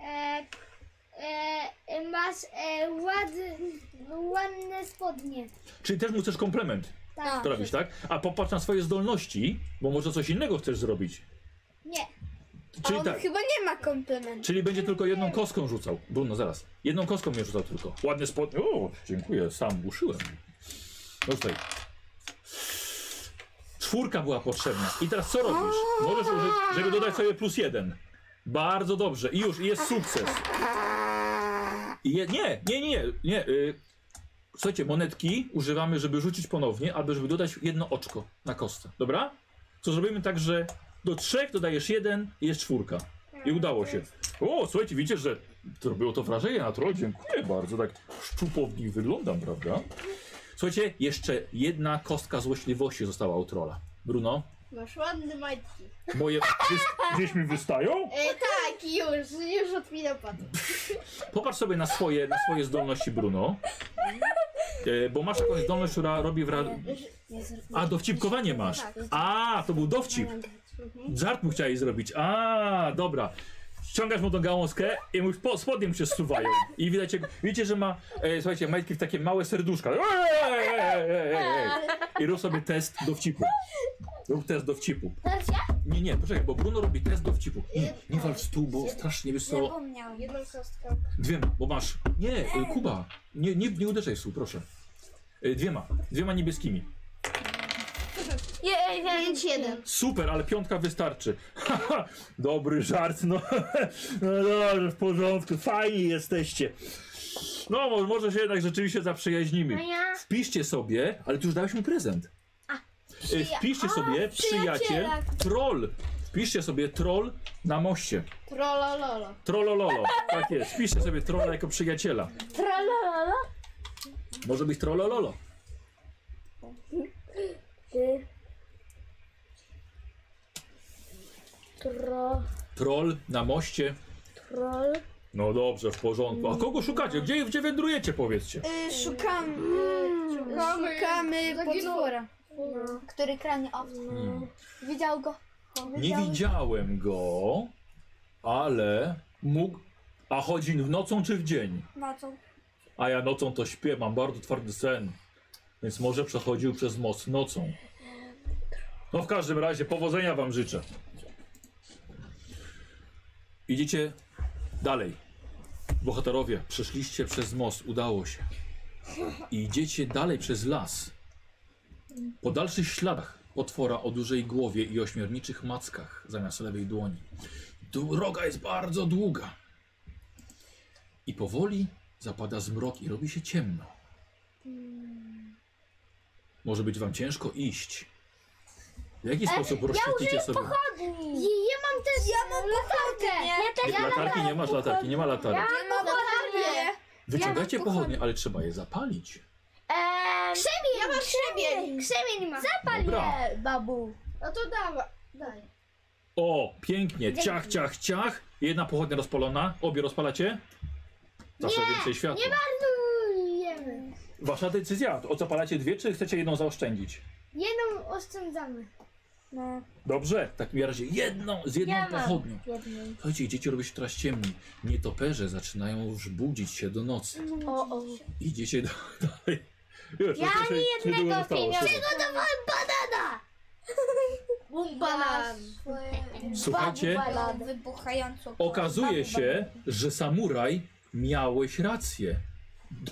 E, e, masz e, ład, ładne spodnie.
Czyli też mu chcesz komplement
Tak.
robić, tak? A popatrz na swoje zdolności, bo może coś innego chcesz zrobić.
Nie.
Czyli tak,
chyba nie ma komplementu.
czyli będzie tylko jedną kostką rzucał. Bruno, zaraz. Jedną kostką mnie rzucał tylko. Ładny spod... O, dziękuję, sam uszyłem. No tutaj. Czwórka była potrzebna. I teraz co robisz? Możesz użyć, żeby dodać sobie plus jeden. Bardzo dobrze. I już, i jest sukces. I je, nie, nie, nie, nie. Y, słuchajcie, monetki używamy, żeby rzucić ponownie, albo żeby dodać jedno oczko na kostce. Dobra? Co zrobimy tak, że do trzech dodajesz jeden i jest czwórka. I udało się. O, słuchajcie, widzicie, że zrobiło to wrażenie na troll. Dziękuję bardzo. Tak szczupownik wyglądam, prawda? Słuchajcie, jeszcze jedna kostka złośliwości została u trolla. Bruno,
Masz ładne majtki.
moje... Gdzieś, gdzieś mi wystają?
E, tak, już, już odpinał pan.
Popatrz sobie na swoje, na swoje zdolności, Bruno. E, bo masz jakąś zdolność, która robi wra...
Nie zrobię.
A, dowcipkowanie masz. A, to był dowcip. Żart mu chciałeś zrobić. A, dobra. Ściągasz mu tą gałązkę i mu po, spodnie mu się zsuwają. I widać, jak- widzicie, że ma, e, słuchajcie, majtki w takie małe serduszka. Eee, eee, eee, eee. I rób sobie test dowcipu. Rób test dowcipu.
Teraz ja?
Nie, nie, poczekaj, bo Bruno robi test dowcipu. Nie, nie walcz tu, bo strasznie wiesz co...
Zapomniałam.
Jedną kostkę.
Dwiema, bo masz... Nie, e, Kuba, nie, nie, nie uderzaj w stół, proszę. E, Dwiema, dwiema niebieskimi.
Je, ja
Pięć, jeden.
Super, ale piątka wystarczy. [laughs] Haha, dobry żart, no. [laughs] no dobrze, w porządku, fajni jesteście. No, mo- może się jednak rzeczywiście
A
zaprzyjaźnimy.
ja?
Wpiszcie sobie, ale tu już dałeś mu prezent. E, Wpiszcie sobie przyjaciel,
przyjaciela.
troll. Wpiszcie sobie troll na moście.
Trolololo.
Trollololo, tak jest. Wpiszcie sobie trolla jako przyjaciela.
Tralalala?
Może być trollololo.
Ty. Tro,
Troll na moście.
troll.
No dobrze, w porządku. A kogo szukacie? Gdzie, gdzie wędrujecie, powiedzcie?
Y, Szukamy,
Mm. Szukamy.
szukamy
Zaginął.
potwora.
Który kranie owca.
Hmm.
Widział go.
Nie widziałem go, ale mógł. A chodzi w nocą czy w dzień?
Nocą.
A ja nocą to śpię, mam bardzo twardy sen. Więc może przechodził przez most nocą. No w każdym razie powodzenia wam życzę. Idziecie dalej. Bohaterowie, przeszliście przez most, udało się. I idziecie dalej przez las. Po dalszych śladach potwora o dużej głowie i ośmiorniczych mackach zamiast lewej dłoni. Droga jest bardzo długa. I powoli zapada zmrok i robi się ciemno. Może być wam ciężko iść. W jaki sposób rozświetlicie sobie?
Chodni.
Ja mam też ja mam latarkę.
Ja też
Nie, latarki nie masz, latarki nie ma latarek.
Nie ma pochodnie.
Wyciągajcie pochodnie, ale trzeba je zapalić.
Eee,
Krzemień, ja mam krzemień. Krzemień ma.
Dobra.
babu.
No to dawaj. Daj.
O, pięknie, ciach, ciach, ciach. Jedna pochodnia rozpalona, obie rozpalacie? Zawsze więcej światła.
Marnujemy.
Wasza decyzja, o zapalacie dwie, czy chcecie jedną zaoszczędzić?
Jedną oszczędzamy.
No.
Dobrze, w takim razie jedną, z jedną
Ja mam.
pochodnią.
Jednej.
Słuchajcie, dzieci robi się teraz ciemniej. Nietoperze zaczynają już budzić się do nocy.
O, o.
Idziecie do- [laughs] dalej. Już,
Mhm. Ja
jeszcze się niedługo
jednego
zostało,
pieniądza.
słuchaj.
Banan.
Słuchajcie,
Babu,
Wybuchającą.
okazuje się, że samuraj miałeś rację.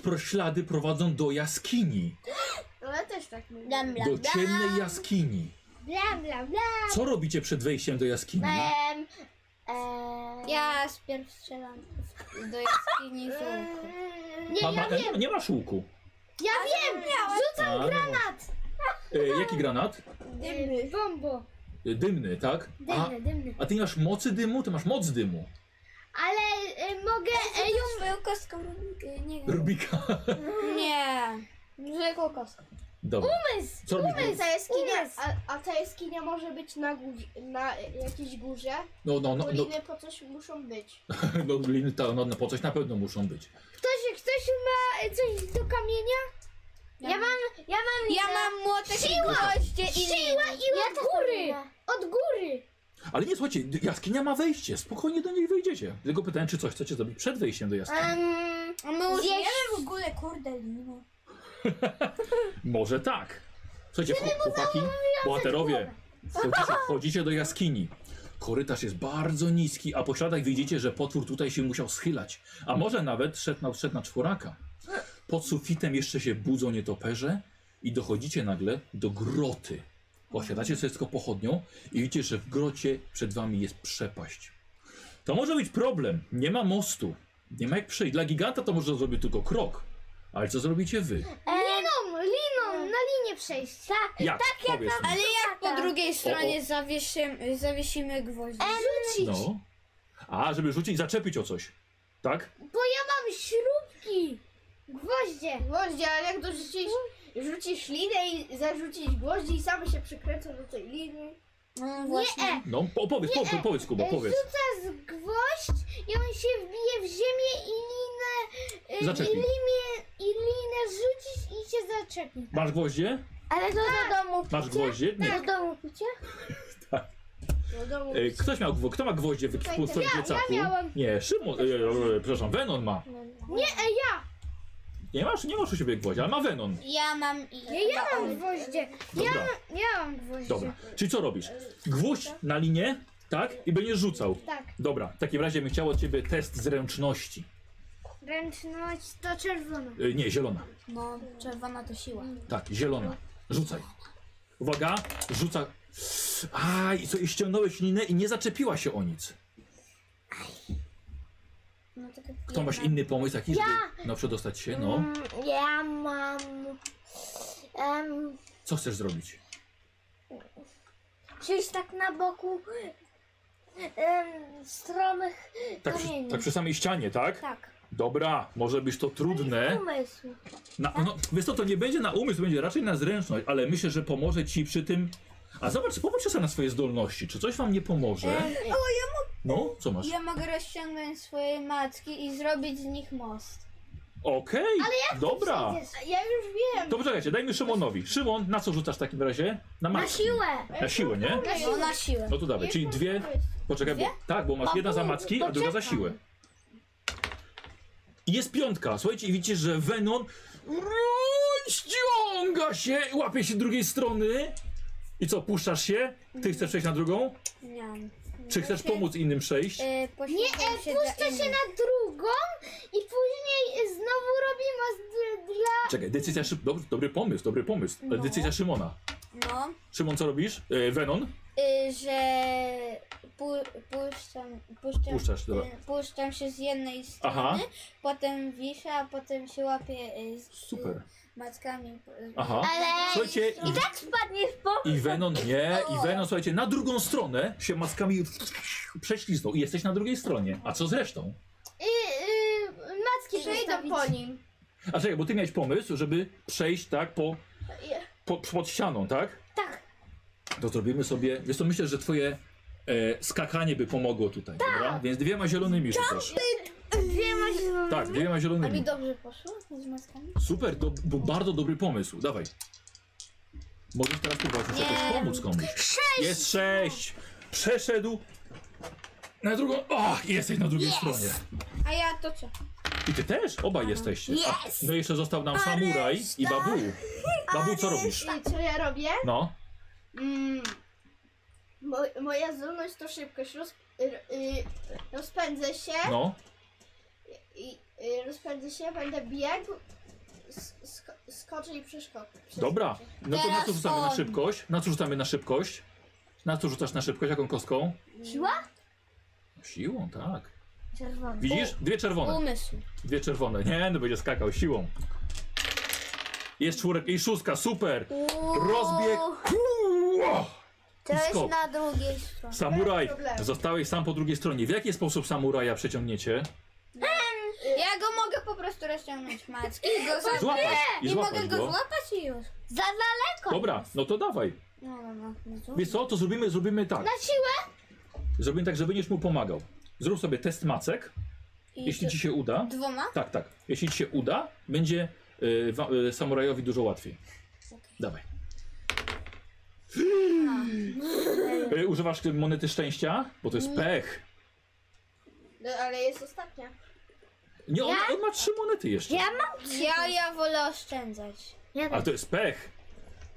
Pro- Ślady prowadzą do jaskini.
Eee,
Ola też tak mówi.
Blam, blam,
Do
blam.
ciemnej jaskini.
Blam, blam, blam.
Co robicie przed wejściem do jaskini?
Em, em,
Ja wpierw strzelam w- do jaskini żółku.
Nie,
Ma-
ja
ma-
wiem,
nie ma szłóku.
ja wiem! Rzucam
A, no
granat!
właśnie. E, jaki granat?
Dymny. Bombo.
E, Dymny, tak? A,
Dymny, dymny.
a ty nie masz mocy dymu? Ty masz moc dymu.
Ale y, mogę... Y, ją...
Swoją kostką Rubik- nie wiem.
Rubika.
Nie. Zwykłą kostką.
Dobra.
Umysł!
Co robisz?
Umysł! Ta jaskinia,
Umysł.
a, a ta jaskinia może być na, górze, na y, jakiejś górze.
No, no, no, no,
Doliny po coś muszą być.
no, gliny to, no, no po coś na pewno muszą być.
Ktoś, ktoś ma y, coś do kamienia?
Ja
Ja mam... Ja mam...
Ja mam młotek Siła! i gwoździe i
Siła i od góry! Od góry!
Ale nie, słuchajcie, jaskinia ma wejście, spokojnie do niej wejdziecie. Tylko pytałem, czy coś chcecie zrobić przed wejściem do jaskini.
Um,
A my już
Zjeść-
wiemy w ogóle kurde liny.
Może tak. Słuchajcie, chłop- chłopaki, bohaterowie, wchodzicie, wchodzicie do jaskini. Korytarz jest bardzo niski, a po śladach widzicie, że potwór tutaj się musiał schylać. A może nawet szedł na, szedł na czworaka. Pod sufitem jeszcze się budzą nietoperze i dochodzicie nagle do groty. Posiadacie sobie tylko pochodnią i widzicie, że w grocie przed wami jest przepaść. To może być problem. Nie ma mostu. Nie ma jak przejść. Dla giganta to może zrobić tylko krok. Ale co zrobicie wy?
E,
liną,
no.
liną, na linię przejść. Tak.
Jak? Tak, jak
Ale jak po drugiej
O,
stronie zawiesimy, zawiesimy gwoździe?
Rzucić.
No. A, żeby rzucić, zaczepić o coś. Tak?
Bo ja mam śrubki. Gwoździe. Gwoździe, ale jak dorzucisz, rzucisz linę i zarzucić gwoździe i same się przykręcą do tej liny.
No właśnie.
Nie, e,
No, po- opowiedz, powiedz, powiedz, Kuba,
e,
powiedz.
rzuca z gwoźdź i on się wbije w ziemię i linę, e,
Zaczepi.
i linię, i linę rzucić i się zaczepi. Tak.
Masz gwoździe?
Ale to do domu
Masz
picie?
gwoździe? Nie.
Do domu picie?
Do domu.
E, Ktoś miał gwoździe, kto ma gwoździe w w swoim plecaku?
miałam.
Nie, Szymon, e, e, przepraszam, Venon ma.
Nie, e, ja.
Nie masz, nie masz u siebie gwoździa, ale ma Venon.
Ja mam i...
Nie, ja mam gwoździe.
Dobra,
Ja mam gwoździe.
dobra. Czyli co robisz? Gwóźdź na linię, tak? I będziesz rzucał.
Tak.
Dobra, w takim razie bym chciał od ciebie test zręczności.
Ręczność to czerwona.
E, Nie, zielona.
No, czerwona to siła.
Tak, zielona. Rzucaj. Uwaga, rzuca. Aj, co, i ściągnąłeś linę i nie zaczepiła się o nic.
No to
Kto masz inny pomysł jakiś, żeby no, przedostać się? No.
Mm, Ja mam... Um,
Co chcesz zrobić?
siedź tak na boku em, stromych
Tak przy,
kamieni.
tak przy samej ścianie, tak?
Tak.
Dobra, może być to trudne.
Umysł.
Na, no, wiesz co, to nie będzie na umysł, będzie raczej na zręczność, ale myślę, że pomoże ci przy tym... A zobacz, popatrzcie sobie na swoje zdolności. Czy coś wam nie pomoże? No, co masz?
Ja mogę rozciągnąć swoje macki i zrobić z nich most.
Okej, dobra.
Ja już wiem.
To poczekajcie, dajmy Szymonowi. Szymon, na co rzucasz w takim razie? Na,
Na
macki.
siłę.
Na siłę, nie?
No na siłę.
No to dawaj, czyli dwie. Poczekaj, bo, tak, bo masz jedna za macki, a druga za siłę. I jest piątka, słuchajcie, i widzicie, że Venon ściąga się, łapie się drugiej strony. I co, puszczasz się? Ty chcesz przejść na drugą?
Nie.
Czy chcesz pomóc innym przejść?
Yy,
Nie, e,
poświęcam się
puszczę
dla
się
innych.
na drugą i później e, znowu robię most d- dla...
Czekaj, decyzja szyb... Dobry, dobry pomysł, dobry pomysł. Ale
No.
decyzja Szymona.
No.
Szymon, co robisz? E, Venon?
Y, że pu, puszczam, puszczam,
Puszczasz, dobra.
y, puszczam się z jednej strony,
Aha,
potem wiszę, a potem się łapię y, z
super.
y, mackami. y,
Aha.
Ale
Słuchajcie, i
tak spadniesz po...
I Venon nie, i Venon słuchajcie, na drugą stronę się maskami prześlizgnął i jesteś na drugiej stronie. A co z resztą?
I, y, macki, że idą
Zostawić.
po nim.
A czekaj, bo ty miałeś pomysł, żeby przejść tak po, po pod ścianą, tak?
Tak.
To zrobimy sobie, wiesz co, myślę, że twoje e, skakanie by pomogło tutaj, dobra? Więc dwiema zielonymi rzucasz.
Tak. Dwiema zielonymi.
Tak, dwiema
A mi
zielonymi.
dobrze poszło z mackami?
Super, do, bo bardzo dobry pomysł, dawaj. Możesz teraz próbować już
Nie.
jakoś pomóc komuś. Sześć! Jest sześć! Przeszedł na drugą, och, jesteś na drugiej stronie.
A ja to co?
I ty też? Obaj jesteście.
Yes!
A, no i jeszcze został nam samuraj i babu. Babu, co robisz?
I co ja robię?
No,
Mm, mo, moja zdolność to szybkość. Roz, r, y, rozpędzę się
no.
i y, rozpędzę się, będę biegł
s- sk- skoczy i przeskoczy.
Dobra, no to na co
Teraz
rzucamy na
on.
szybkość? Na co rzucamy na szybkość? Na co rzucasz na szybkość? Jaką kostką?
Siła?
Siłą, tak.
Czerwony.
Widzisz? Dwie czerwone.
Umysł.
Dwie czerwone. Nie, no będzie skakał siłą. Jest czwórek i szóstka, super! Rozbieg. Ło!
To
I
jest
skok.
na drugiej stronie.
Samuraj,
Bez problemu.
zostałeś sam po drugiej stronie. W jaki sposób samuraja przeciągniecie?
Y-
Ja go mogę po prostu rozciągnąć,
[laughs]
Maćki. I go za...
Złapać i
No Nie mogę
złapać
go
go.
złapać i już.
Za daleko.
Dobra, no to dawaj.
No, no, no. no to-
Wiesz co, to zrobimy, zrobimy tak.
Na siłę?
Zrobimy tak, że będziesz mu pomagał. Zrób sobie test macek,
I
jeśli
to-
ci się uda.
Dwoma?
Tak, tak. Jeśli ci się uda, będzie y, wa, y, samurajowi dużo łatwiej. Dawaj. Y, używasz monety szczęścia? Bo to jest pech.
No, ale jest ostatnia.
Nie, on, on ma trzy monety jeszcze.
Ja
Ja, ja wolę oszczędzać.
Ja
Ale to jest pech.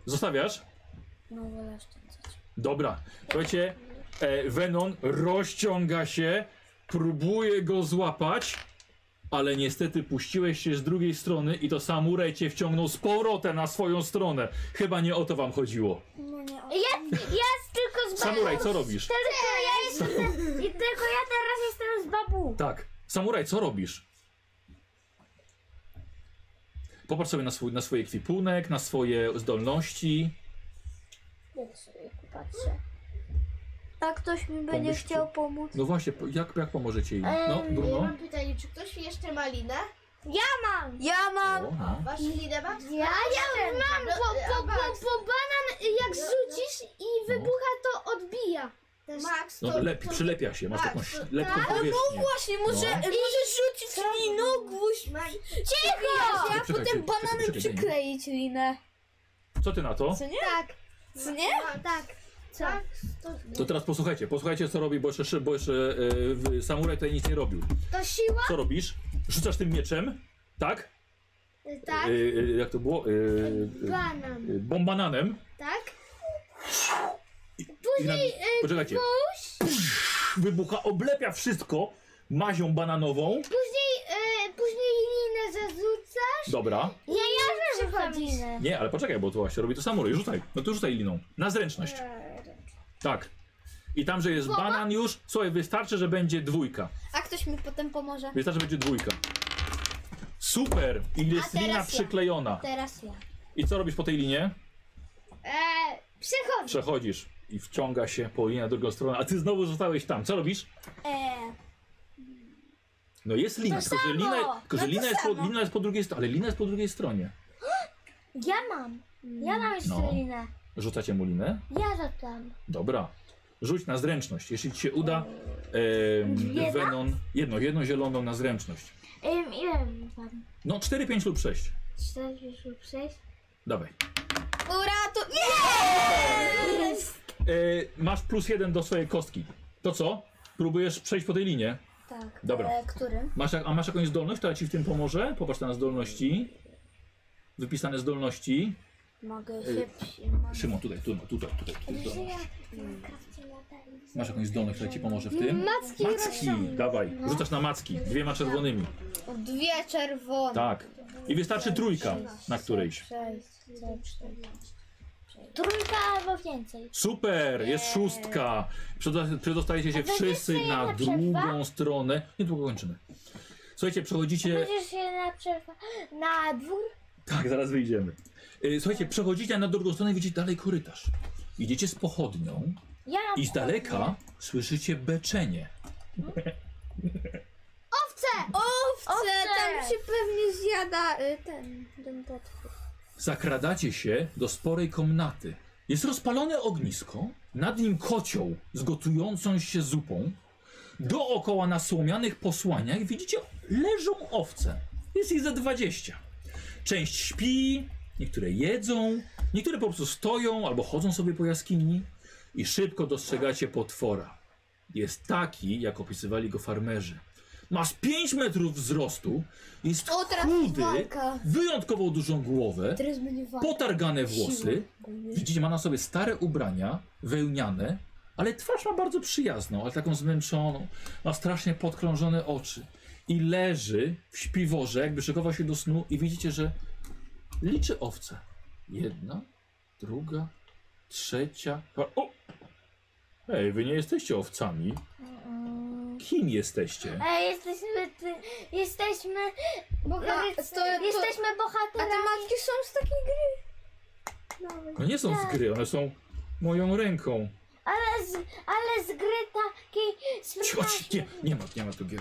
Zostawiasz?
No, wolę oszczędzać.
Dobra. Słuchajcie, e, Venon rozciąga się, próbuje go złapać, ale niestety puściłeś się z drugiej strony i to samuraj cię wciągnął z powrotem na swoją stronę. Chyba nie o to wam chodziło.
No nie, o...
Ja, ja tylko z babu.
Samuraj, co robisz?
Tylko ja, jestem, i tylko ja teraz jestem z babu.
Tak. Samuraj, co robisz? Popatrz sobie na swój, na swój ekwipunek, na swoje zdolności.
Jak sobie patrzę.
A ktoś mi będzie
Pomyślcie.
chciał pomóc.
No właśnie, po- jak, jak pomożecie im? No,
Em,
Ja
Bruno?
mam pytanie, czy ktoś jeszcze ma linę?
Mam.
Ja mam...
O, no.
Wasz linę ma?
Ja, ja mam,
No,
bo, bo, bo,
Max.
bo banan jak zrzucisz i wybucha to odbija. Też.
Max, to,
No, lepi,
to,
przylepia się, masz
tak,
taką
to-
lekką powierzchnię.
Właśnie, muszę,
No.
muszę rzucić liną gwóźdź.
Max,
Cicho! Ja
Czekajcie,
potem
czekajcie,
banany
czekajcie, nie.
przykleić linę.
Co ty na to?
Co nie?
Tak.
Co nie?
Tak. Co?
Max, to,
To teraz posłuchajcie, posłuchajcie co robi, bo jeszcze, szy- bo jeszcze e, w- samuraj tutaj nic nie robił.
To siła?
Co robisz? Rzucasz tym mieczem, tak?
Tak.
E, e, jak to było? E, e,
Banan.
e, bombananem.
Tak.
I na,
y,
poczekajcie. Wybucha, oblepia wszystko mazią bananową.
Później, e, później linę zarzuca.
Dobra.
Ja, ja
przychodzisz.
przychodzę.
Nie, ale poczekaj, bo to właśnie robi to samuraj. Rzucaj. No to rzucaj liną. Na zręczność.
Eee,
Tak. I tam, że jest banan już, słuchaj, wystarczy, że będzie dwójka.
A ktoś mi potem pomoże.
Wystarczy, że będzie dwójka. Super! I jest
teraz
lina
ja.
przyklejona.
Teraz ja.
I co robisz po tej linie?
E, przechodzę.
Przechodzisz i wciąga się Paulina na drugą stronę, a ty znowu zostałeś tam. Co robisz?
E,
Eee,
No jest lina,
To
tylko że
samo!
lina, tylko, że
No to
lina, jest po,
samo.
lina jest po drugiej stronie, ale lina jest po drugiej stronie.
Ja mam. Ja mam jeszcze
No.
linę.
Rzucacie mu linę?
Ja rzucam.
Dobra. Rzuć na zręczność, jeśli ci się uda.
Dwie, tak?
Em, Venon, jedno, jedno zieloną na zręczność.
Ym, ile mam?
No 4, 5 lub 6.
4 lub 6?
Dawaj.
Uratu... Nie!
E, masz plus jeden do swojej kostki. To co? Próbujesz przejść po tej linie.
tak.
Dobra.
E,
Eee, którym?
Masz, jak- a masz jakąś zdolność, która ci w tym pomoże? Popatrz na zdolności. Wypisane zdolności.
Mogę
Eee,
się... przy- mogę-
Szymon, tutaj, tutaj, tutaj, tutaj. tutaj
Że
zdolność.
ja mam krawcie latające.
Masz jakąś zdolność, która ci pomoże w tym?
Macki
Macki, dawaj. Rzucasz na macki, dwiema czerwonymi.
Dwie czerwone.
Tak. I wystarczy trójka na którejś.
Sześć, cztery, cztery.
Trójka albo więcej.
Super, jest szóstka. Przedosta- Przedostajecie się wszyscy na drugą stronę. Niedługo kończymy. Słuchajcie, przechodzicie
Będziesz się na przerwa na dwór.
Tak, zaraz wyjdziemy. Y, Słuchajcie, przechodzicie na drugą stronę, widzicie dalej korytarz. Idziecie z pochodnią
Ja mam
i z daleka słyszycie beczenie.
Owce,
Owce!
tam się pewnie zjada y, ten... ten potwór.
Zakradacie się do sporej komnaty. Jest rozpalone ognisko, nad nim kocioł z gotującą się zupą. Dookoła na słomianych posłaniach widzicie leżą owce. Jest ich za 20. Część śpi, niektóre jedzą, niektóre po prostu stoją albo chodzą sobie po jaskini i szybko dostrzegacie potwora. Jest taki, jak opisywali go farmerzy. Ma z 5 metrów wzrostu, jest
O, teraz
chudy,
walka.
wyjątkowo dużą głowę,
Teraz będzie walka.
potargane włosy.
Siła.
Widzicie, ma na sobie stare ubrania, wełniane, ale twarz ma bardzo przyjazną, ale taką zmęczoną. Ma strasznie podkrążone oczy. I leży w śpiworze, jakby szykował się do snu i widzicie, że Liczy owce. Jedna, druga, trzecia. O! Ej, wy nie jesteście owcami. Kim jesteście?
A E, jesteśmy, ty, jesteśmy, bohatercy,
No, to- to-
jesteśmy
A te
bohaterami.
matki są z takiej gry.
No nie są z gry, one są moją ręką.
Ale z, ale z gry takiej
Cicho,
spytałaś
cicho, nie, nie ma, nie ma tu gier.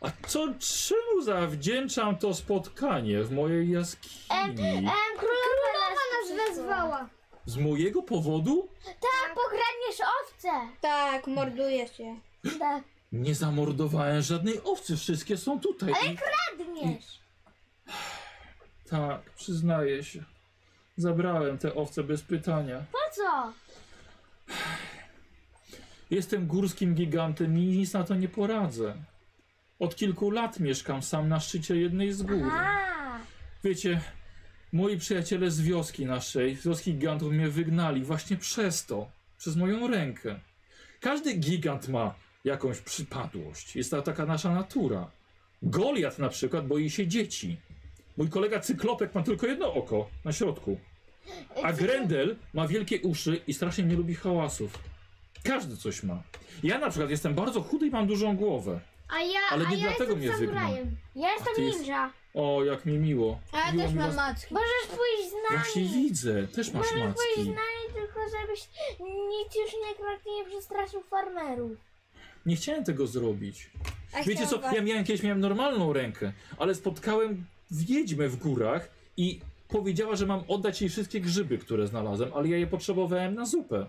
A co, czemu zawdzięczam to spotkanie w mojej jaskini?
Em, królowa, nas
Wezwała.
Z mojego powodu?
Tak, pokradniesz owce.
Tak, morduje się.
Tak,
Nie zamordowałem żadnej owcy, wszystkie są tutaj. I
kradniesz.
tak, przyznaję się. Zabrałem te owce bez pytania.
Po co?
Jestem górskim gigantem i nic na to nie poradzę. Od kilku lat mieszkam sam na szczycie jednej z gór.
A,
Wiecie, moi przyjaciele z wioski naszej, z wioski gigantów mnie wygnali właśnie przez to, przez moją rękę. Każdy gigant ma jakąś przypadłość. Jest to taka nasza natura. Goliat na przykład boi się dzieci. Mój kolega cyklopek ma tylko jedno oko na środku. A Grendel ma wielkie uszy i strasznie nie lubi hałasów. Każdy coś ma. Ja na przykład jestem bardzo chudy i mam dużą głowę.
A ja,
Ale
a
nie
ja
dlatego
jestem
mnie wygnał.
samurajem.
ja
ty
jestem
jest-
ninja.
O, jak mi miło.
A ja
miło
też
mi
mam
was-
macki.
Możesz pójść z nami.
Właśnie widzę, też masz
Możesz pójść z
macki.
nami, tylko żebyś nic już nie kradł, nie przestraszył farmerów.
Nie chciałem tego zrobić.
A
Wiecie co,
chciałam-
ja miałem kiedyś miałem normalną rękę, ale spotkałem wiedźmę w górach i powiedziała, że mam oddać jej wszystkie grzyby, które znalazłem, ale ja je potrzebowałem na zupę.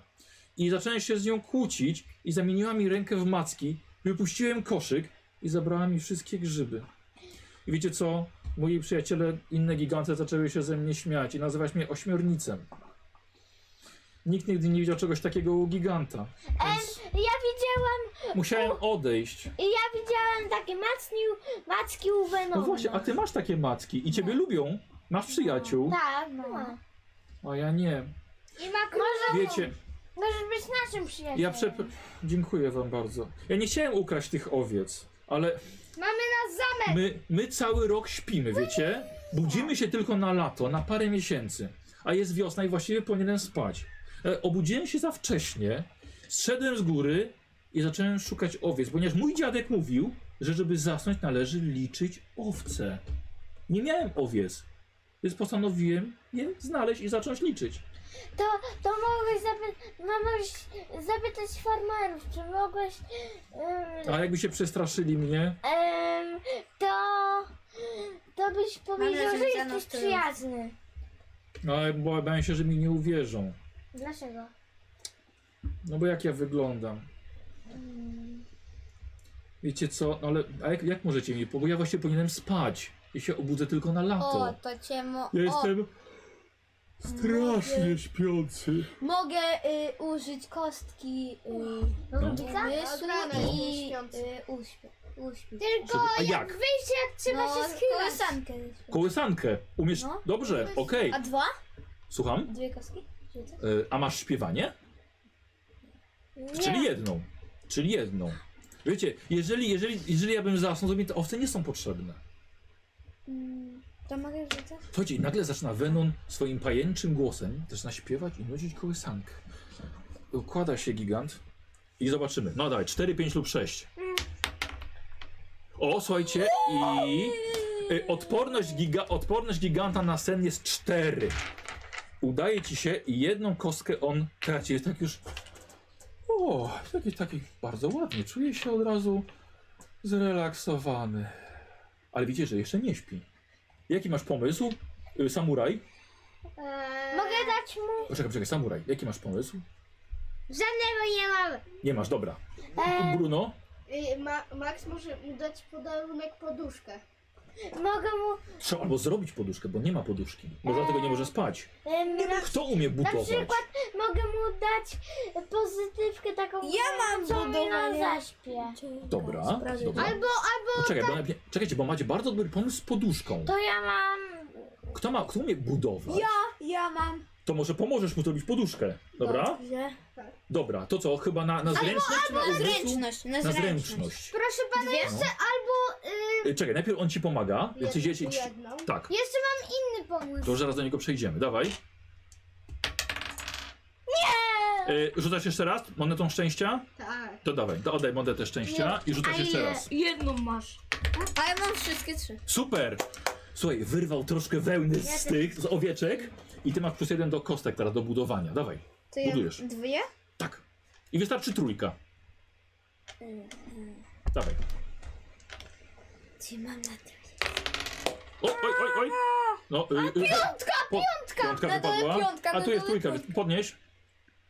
I zacząłem się z nią kłócić i zamieniła mi rękę w macki, wypuściłem koszyk i zabrała mi wszystkie grzyby. I wiecie co? Moi przyjaciele, inne giganty zaczęły się ze mnie śmiać i nazywać mnie ośmiornicem. Nikt nigdy nie widział czegoś takiego u giganta. Więc
Ja widziałam,
musiałem odejść.
ja widziałam takie macki, macki u Venoma.
No właśnie, No. a ty masz takie macki i ciebie lubią. Masz przyjaciół,
Tak, no.
a ja nie.
I ma Może,
Wiecie,
Możesz być naszym przyjacielem.
ja przep... Dziękuję wam bardzo. Ja nie chciałem ukraść tych owiec, ale
Mamy nas za...
my, my cały rok śpimy, wiecie? Budzimy się tylko na lato, na parę miesięcy. A jest wiosna i właściwie powinienem spać. E, Obudziłem się za wcześnie, zszedłem z góry i zacząłem szukać owiec, ponieważ mój dziadek mówił, że żeby zasnąć należy liczyć owce. Nie miałem owiec, więc postanowiłem je znaleźć i zacząć liczyć.
To, to mogłeś, zapy... no, możesz zapytać farmerów, czy mogłeś... Um,
A jakby się przestraszyli mnie,
em, to... To byś powiedział,
nadzieję,
że
że nas
jesteś
to-
przyjazny.
no ale bo- bałem się, że mi nie uwierzą.
Dlaczego?
No bo jak ja wyglądam? Wiecie co, ale a jak, jak możecie mi, bo ja właśnie powinienem spać. Ja się obudzę tylko na
O,
lato.
to cię mo...
Ja
o,
jestem strasznie śpiący.
mogę y, użyć kostki y,
No.
umysłu
Odrana
i
śpiący.
y, uśpię. uśpię.
Żeby- A jak?
Wyjście jak trzeba
no,
się schylać.
kołysankę.
Kołysankę. Umiesz?
No.
Dobrze, okej.
A dwa?
Słucham?
Dwie kostki? Rzucę?
Y, A masz śpiewanie? Czyli jedną. Czyli jedną. Wiecie, jeżeli, jeżeli, jeżeli ja bym zasnął, to mi te owce nie są potrzebne.
To mogę rzucać?
Słuchajcie, i nagle zaczyna Venon swoim pajęczym głosem zaczyna śpiewać i nucić kołysankę. Układa się gigant i zobaczymy. No daj, 4, 5 lub 6. O, słuchajcie, i y, odporność, giga, odporność giganta na sen jest 4. Udaje ci się i jedną kostkę on traci. Jest tak już... O, taki, taki bardzo ładnie. Czuje się od razu zrelaksowany. Ale widzicie, że jeszcze nie śpi. Jaki masz pomysł? Y, Samuraj?
Eee,
Mogę tak- dać mu...
Poczekaj, poczekaj, samuraj. Jaki masz pomysł?
Żadnego nie mam.
Nie masz, dobra.
E,
Bruno?
y, Ma, Max może mu dać podarunek poduszkę.
mogę mu...
Trzeba albo zrobić poduszkę, bo nie ma poduszki. Może dlatego nie może spać.
Em, na,
Kto umie butować?
przykład- mogę mu dać pozytywkę taką...
Ja mam
co mi on
budowanie.
zaśpie.
Dobra, dobra.
Albo, albo...
Czekaj, bo, najpierw- czekajcie, bo macie bardzo dobry pomysł z poduszką.
To ja mam...
Kto, ma, kto umie budować,
Ja mam.
to może pomożesz mu zrobić poduszkę. Dobra?
Dobrze.
Dobra, to co? Chyba na, na zręczność? czy na umysł?
Zręczność, na
Na
zręczność.
zręczność.
Proszę pana,
No.
albo... Y,
Y, Czekaj, najpierw on ci pomaga. Ty- ty- ty-
jedną.
Tak.
Jeszcze mam inny
pomysł.
To już zaraz do niego przejdziemy. Dawaj. Nie! Y, rzucasz jeszcze raz monetą szczęścia?
Tak.
To dawaj, to oddaj monetę szczęścia i rzucasz
A
jeszcze
ile?
raz.
Jedną masz.
A ja mam wszystkie trzy.
Super! Słuchaj, wyrwał troszkę wełny z tych, z owieczek i ty masz plus jeden do kostek teraz do budowania. Dawaj,
To ja
Budujesz.
dwie?
tak. I wystarczy trójka. Dawaj.
Ty mam na tym.
O, oj, oj, oj. No, y, y, piątka, piątka! Piątka
Na dole
wypadła.
piątka,
A
na
tu jest
dole
trójka,
piątka.
podnieś.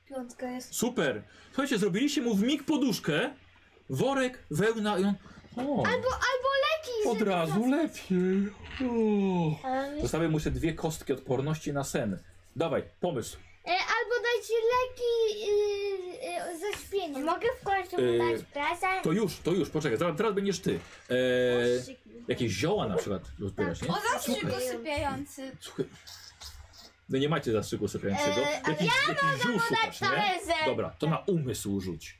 Piątka jest.
Super. Słuchajcie, zrobiliście mu w mig poduszkę, worek, wełna i on... O, albo, albo leki. Od razu lepiej. O.
Ale mi-
Zostawię mu jeszcze dwie kostki odporności na sen. Dawaj, pomysł.
E, albo dajcie leki y, y, ze śpienia. Mogę w końcu
Y,
mu dać prezent?
To już, to już, poczekaj, zaraz, teraz będziesz ty. E, jakieś zioła na przykład rozbierasz, nie?
O, zastrzyk
Słuchaj,
usypiający.
słuchaj. No nie macie zastrzyku sypiającego.
Eee,
Jakiś, jakiś ziół szukasz, nie?
prezent.
Dobra, to na umysł rzuć.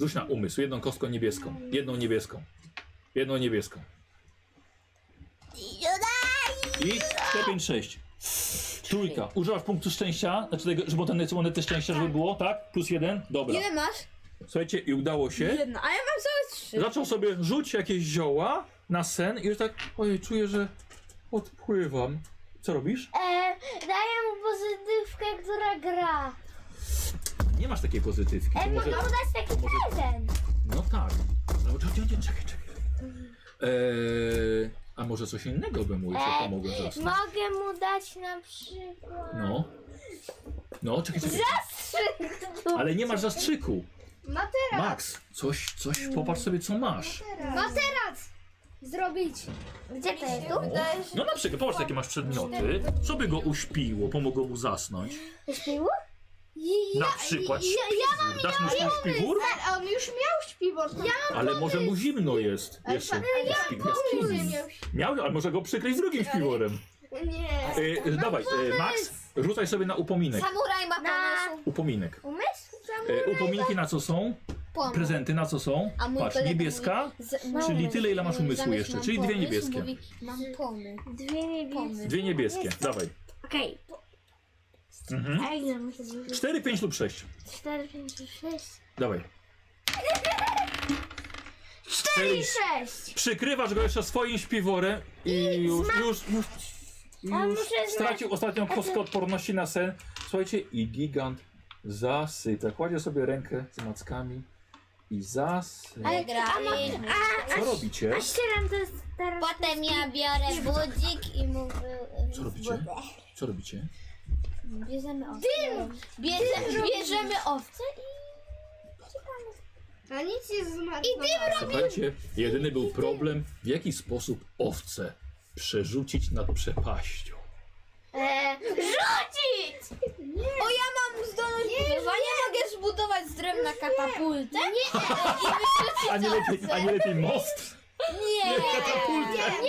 Rzuć na umysł, jedną kostką niebieską. Jedną niebieską. Jedną niebieską. I 5, 6. Trójka. Używasz punktu szczęścia, znaczy tego, żeby ten monety szczęścia, żeby było, tak? Plus jeden. Dobra.
Ile masz?
Słuchajcie, i udało się.
Jedna. A ja mam całe trzy.
Zaczął sobie rzuć jakieś zioła na sen i już tak, ojej, czuję, że odpływam. Co robisz?
E, daję mu pozytywkę, która gra.
Nie masz takiej pozytywki.
E,
To
mogę mu dać taki
może-
prezent.
No tak. No, czekaj, czekaj, czekaj, czekaj. Eee, a może coś innego by mu jeszcze
Eee,
pomogło teraz?
Mogę mu dać na przykład...
No. No, czekaj, czekaj. Ale nie masz zastrzyku.
Materac.
Max, coś, coś, popatrz sobie, co masz.
Materac. Zrobić.
Gdzie to jest?
No, no na przykład, popatrz, jakie masz przedmioty. Co by go uśpiło, pomogło mu zasnąć?
Uśpiło?
Na przykład śpiwór. Dasz mu śpiwór?
A on już miał śpiwór. Ja
Ale może mu zimno jest jeszcze. Jest śpi- jest zimno. Miał, ale może go przykryć drugim śpiworem.
Nie.
E, e, dawaj, e, Max, rzucaj sobie na upominek.
Samuraj ma
Na-
pomysł.
Upominek.
Umysł?
E, upominki na co są?
Pomysł.
Prezenty na co są?
tak? A mój
Patrz,
kolega
niebieska, czyli tyle ile masz umysłu
Zamiast
jeszcze,
mam
czyli dwie
pomysł,
niebieskie.
Mówi, mam pomysł.
Dwie niebieskie.
Dwie niebieskie, dawaj.
Okej.
Mhm.
A ile muszę zrobić?
Cztery, pięć lub sześć.
4, 5, 6.
Dawaj. Cztery i sześć! Przykrywasz go jeszcze swoim śpiworem i już, już, już,
A
już
muszę
stracił ostatnią kostkę odporności na sen. Słuchajcie, i gigant zasypia. Kładzie sobie rękę z mackami i zasypia.
Ale graliśmy.
Co robicie?
A ścieram to jest teraz...
Potem ja biorę budzik i mówię...
Co robicie? Co robicie?
Bierzemy owce. Bierzemy, bierzemy owce
A nic nie zmarł.
Słuchajcie, jedyny był problem, w jaki sposób owce przerzucić nad przepaścią.
O, ja mam zdolność budowania, mogę zbudować z drewna katapultę? Nie, I wyrzucić
A nie lepiej, a nie lepiej most?
Nie,
Nie, katapultę!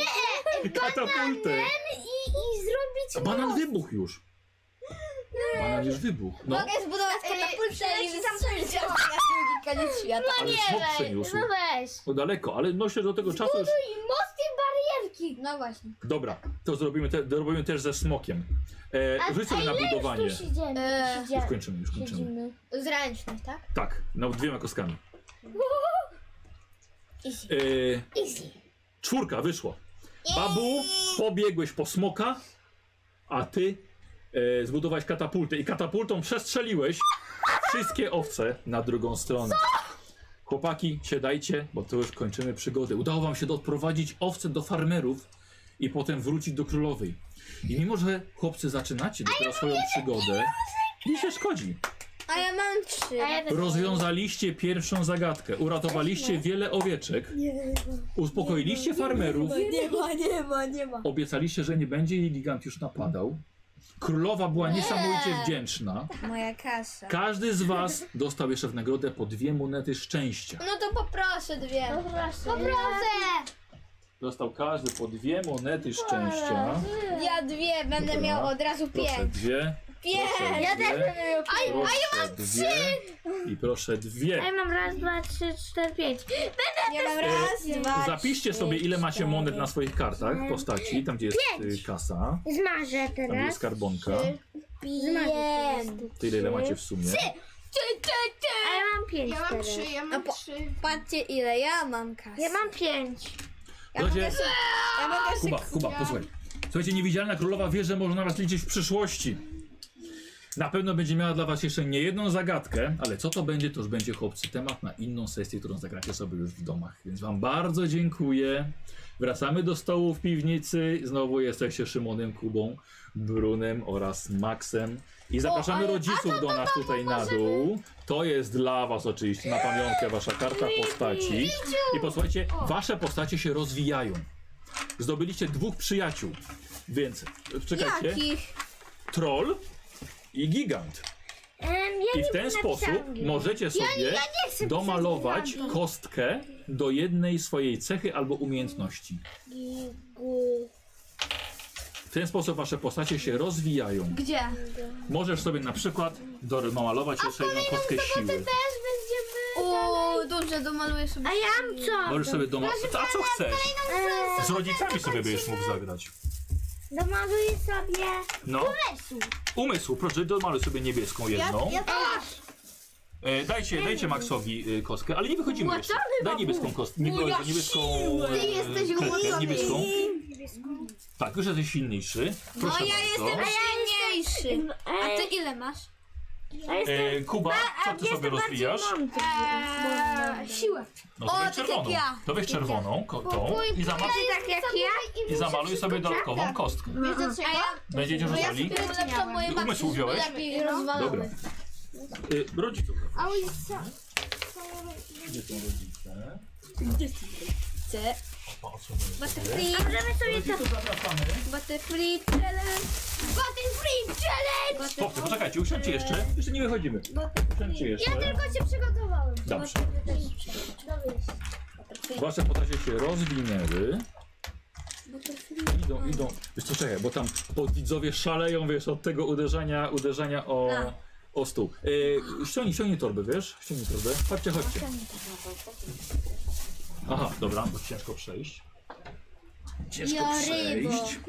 Nie, katapultę!
I, i zrobić...
A banan wybuchł już. Banan już wybuchł. No,
Mogę zbudować katapultę i wystrzelić ją na drugi koniec świata.
ale smok przeniósł.
No weź.
No daleko, ale no się do tego czasu już...
No właśnie.
Dobra, to zrobimy, te, zrobimy też ze smokiem. E, Rzuć sobie na budowanie.
Tu siedziemy.
Eee,
Już
siedziemy.
kończymy, już kończymy.
Siedzimy.
Z ręcznych, tak?
Tak, no dwiema kostkami. E, czwórka, wyszło. Babu, pobiegłeś po smoka, a ty e, zbudowałeś katapultę i katapultą przestrzeliłeś wszystkie owce na drugą stronę. Chłopaki, siadajcie, bo to już kończymy przygodę. Udało wam się doprowadzić owce do farmerów i potem wrócić do królowej. I mimo, że chłopcy zaczynacie dopiero swoją przygodę, nie się szkodzi.
A ja mam trzy.
A ja też-
Rozwiązaliście pierwszą zagadkę, uratowaliście wiele owieczek, uspokoiliście farmerów,
Nie ma, nie ma, nie ma.
Obiecaliście, że nie będzie jej gigant już napadał. Królowa była niesamowicie wdzięczna.
Moja kasa.
Każdy z
[laughs]
was dostał jeszcze w nagrodę po dwie monety szczęścia.
No to poproszę dwie.
Poproszę.
Dostał każdy po dwie monety szczęścia.
Ja dwie, będę
Dobra.
miał od razu
Proszę,
pięć.
dwie. Proszę
Ja
dwie,
też bym ją
A, ja mam dwie, I proszę dwie.
Ja mam raz, dwa, trzy, cztery, pięć.
Ja mam raz,
Yy,
dwa,
Zapiszcie
trzy,
sobie, ile macie
cztery.
monet na swoich kartach postaci, tam gdzie jest y, kasa,
Zmarzę
tam gdzie jest
teraz.
skarbonka.
Zmarzę.
Tyle, ile macie w sumie.
A ja mam pięć
Ja mam
teraz.
trzy, ja
No
mam
po-
trzy.
Patrzcie, ile ja mam kasy.
Ja mam pięć.
Słuchajcie,
Ja mam kasy.
Kuba, Kuba, posłuchaj. Słuchajcie, niewidzialna królowa wie, że może na was liczyć w przyszłości. Na pewno będzie miała dla was jeszcze nie jedną zagadkę, ale co to będzie, to już będzie chłopcy temat na inną sesję, którą zagracie sobie już w domach. Więc wam bardzo dziękuję. Wracamy do stołu w piwnicy. Znowu jesteście Szymonem, Kubą, Brunem oraz Maxem. I zapraszamy rodziców do nas tutaj na dół. To jest dla was oczywiście na pamiątkę wasza karta postaci. I posłuchajcie, wasze postacie się rozwijają. Zdobyliście dwóch przyjaciół. Więc czekajcie.
Jakich?
Troll i gigant.
Em, ja
I
nie
w ten
napisałam
sposób
giganta.
możecie sobie domalować kostkę do jednej swojej cechy albo umiejętności. W ten sposób wasze postacie się rozwijają.
Gdzie?
Możesz sobie na przykład domalować jeszcze jedną kostkę siły.
O, dobrze, domaluję sobie.
A ja mam co?
Możesz sobie domalować. A co chcesz? Z rodzicami sobie będziesz mógł zagrać.
Domaluję sobie.
No. Umysł, proszę, domaluj sobie niebieską jedną. E, dajcie, dajcie Maxowi e, kostkę, ale nie wychodzimy jeszcze. Daj niebieską kostkę,
No
nie, nie, niebieską Ty
jesteś
kostkę,
głodny.
niebieską. Tak, już jesteś silniejszy.
No
Proszę
ja
bardzo.
jestem silniejszy. A
Ej,
ty ile masz?
a jestem,
E, Kuba, co ty sobie
jestem bardziej
rozwijasz?
mądry.
Eee, siła.
No to
O,
weź
tak jak
czerwoną.
ja.
To weź czerwoną ko- tą i, zama
Tak jak ja?
i zamaluj sobie dodatkową kostkę.
Wiesz dlaczego? No
Będziecie
Bo ja
rzucali.
sobie ulepszam moje
Umysł
babci, żeby
wziąłeś?
lepiej
no.
rozwalone.
Dobra. Y, rodziców.
A oni co?
Gdzie są rodzice?
Chcę.
Opa, odsłonię.
Butterfree,
Rodziców zapraszamy.
butterfree challenge. Butterfree challenge!
Chłopcy, poczekajcie, usiądźcie jeszcze. Jeszcze nie wychodzimy. Usiądźcie jeszcze.
się przygotowałem.
Dobrze. Wasze postacie się rozwinęły. Idą, idą. Wiesz co, czekaj, bo tam po- widzowie szaleją, wiesz, od tego uderzania, uderzenia o, o stół. E, ściągnij, ściągnij torby, wiesz? Ściągnij torby. Chodźcie, chodźcie. Aha, dobra, bo ciężko przejść. Ciężko
Ja rybo.
przejść.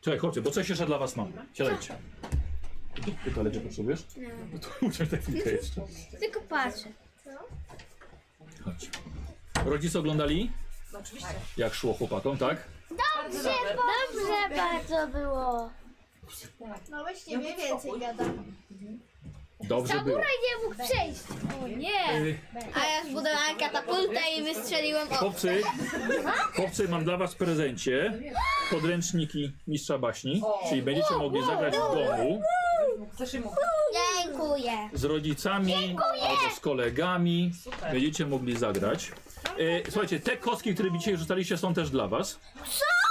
Czekaj, chodźcie, bo coś jeszcze dla was mam. Siadajcie. Ty toalecie potrzebujesz? No. To usiądź na chwilkę jeszcze.
Tylko patrzę.
Chodź. Rodzice oglądali? Oczywiście. Jak szło chłopakom, tak?
Dobrze bardzo było.
No właśnie, wie więcej gada.
Dobrze było.
Nie mógł przejść.
Nie!
Y,
A ja zbudowałem katapultę i wystrzeliłem o.
Chłopcy, chłopcy, mam dla was w prezencie podręczniki mistrza baśni, czyli będziecie mogli zagrać w domu
Dziękuję.
z rodzicami albo z kolegami. Będziecie mogli zagrać. Y, słuchajcie, te kostki, które dzisiaj rzucaliście są też dla was.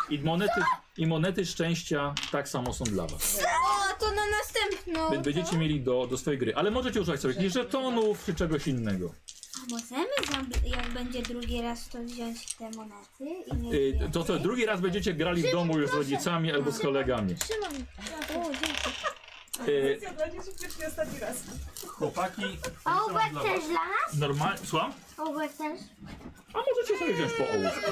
I monety, I monety szczęścia tak samo są dla was.
O, to na następną.
Więc będziecie mieli do, do swojej gry. Ale możecie używać sobie jakichś żetonów czy czegoś innego.
Możemy, jak będzie drugi raz, to wziąć te monety i
Y, To co, drugi raz będziecie grali w domu już z rodzicami albo z kolegami. Y, Chłopaki,
A ołówek też dla nas?
normalnie, słucham?
Ołówek też?
A możecie sobie wziąć po ołówku.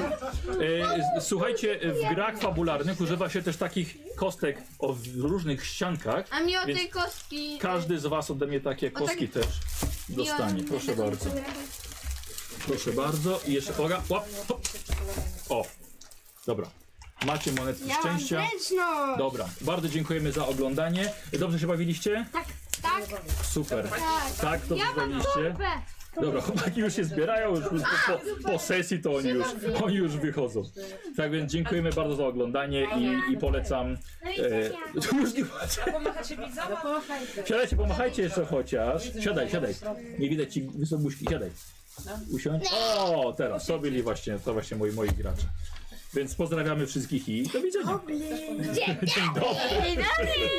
E, s- Słuchajcie, w grach fabularnych używa się też takich kostek o w różnych ściankach,
A mi o
Więc
tej kostki.
Każdy z Was ode mnie takie
tak.
kostki też dostanie. Proszę bardzo. Proszę bardzo. I jeszcze uwaga. Łap. Hop. O. Dobra. Macie monetki szczęścia.
no.
Dobra. Bardzo dziękujemy za oglądanie. Dobrze się bawiliście? Tak. Tak. Super. Tak, dobrze się bawiliście. Dobra, chłopaki już się zbierają, już po, po, po sesji to oni już, oni już wychodzą. Tak więc dziękujemy bardzo za oglądanie i, i polecam. E, [laughs] już nie macie. Siadajcie, pomachajcie jeszcze chociaż. Siadaj, siadaj. Nie widać ci wysobuśki, siadaj. Usiądź. O, teraz to byli właśnie, to właśnie moi, moi gracze. Więc pozdrawiamy wszystkich i do widzenia. Dzień dobry.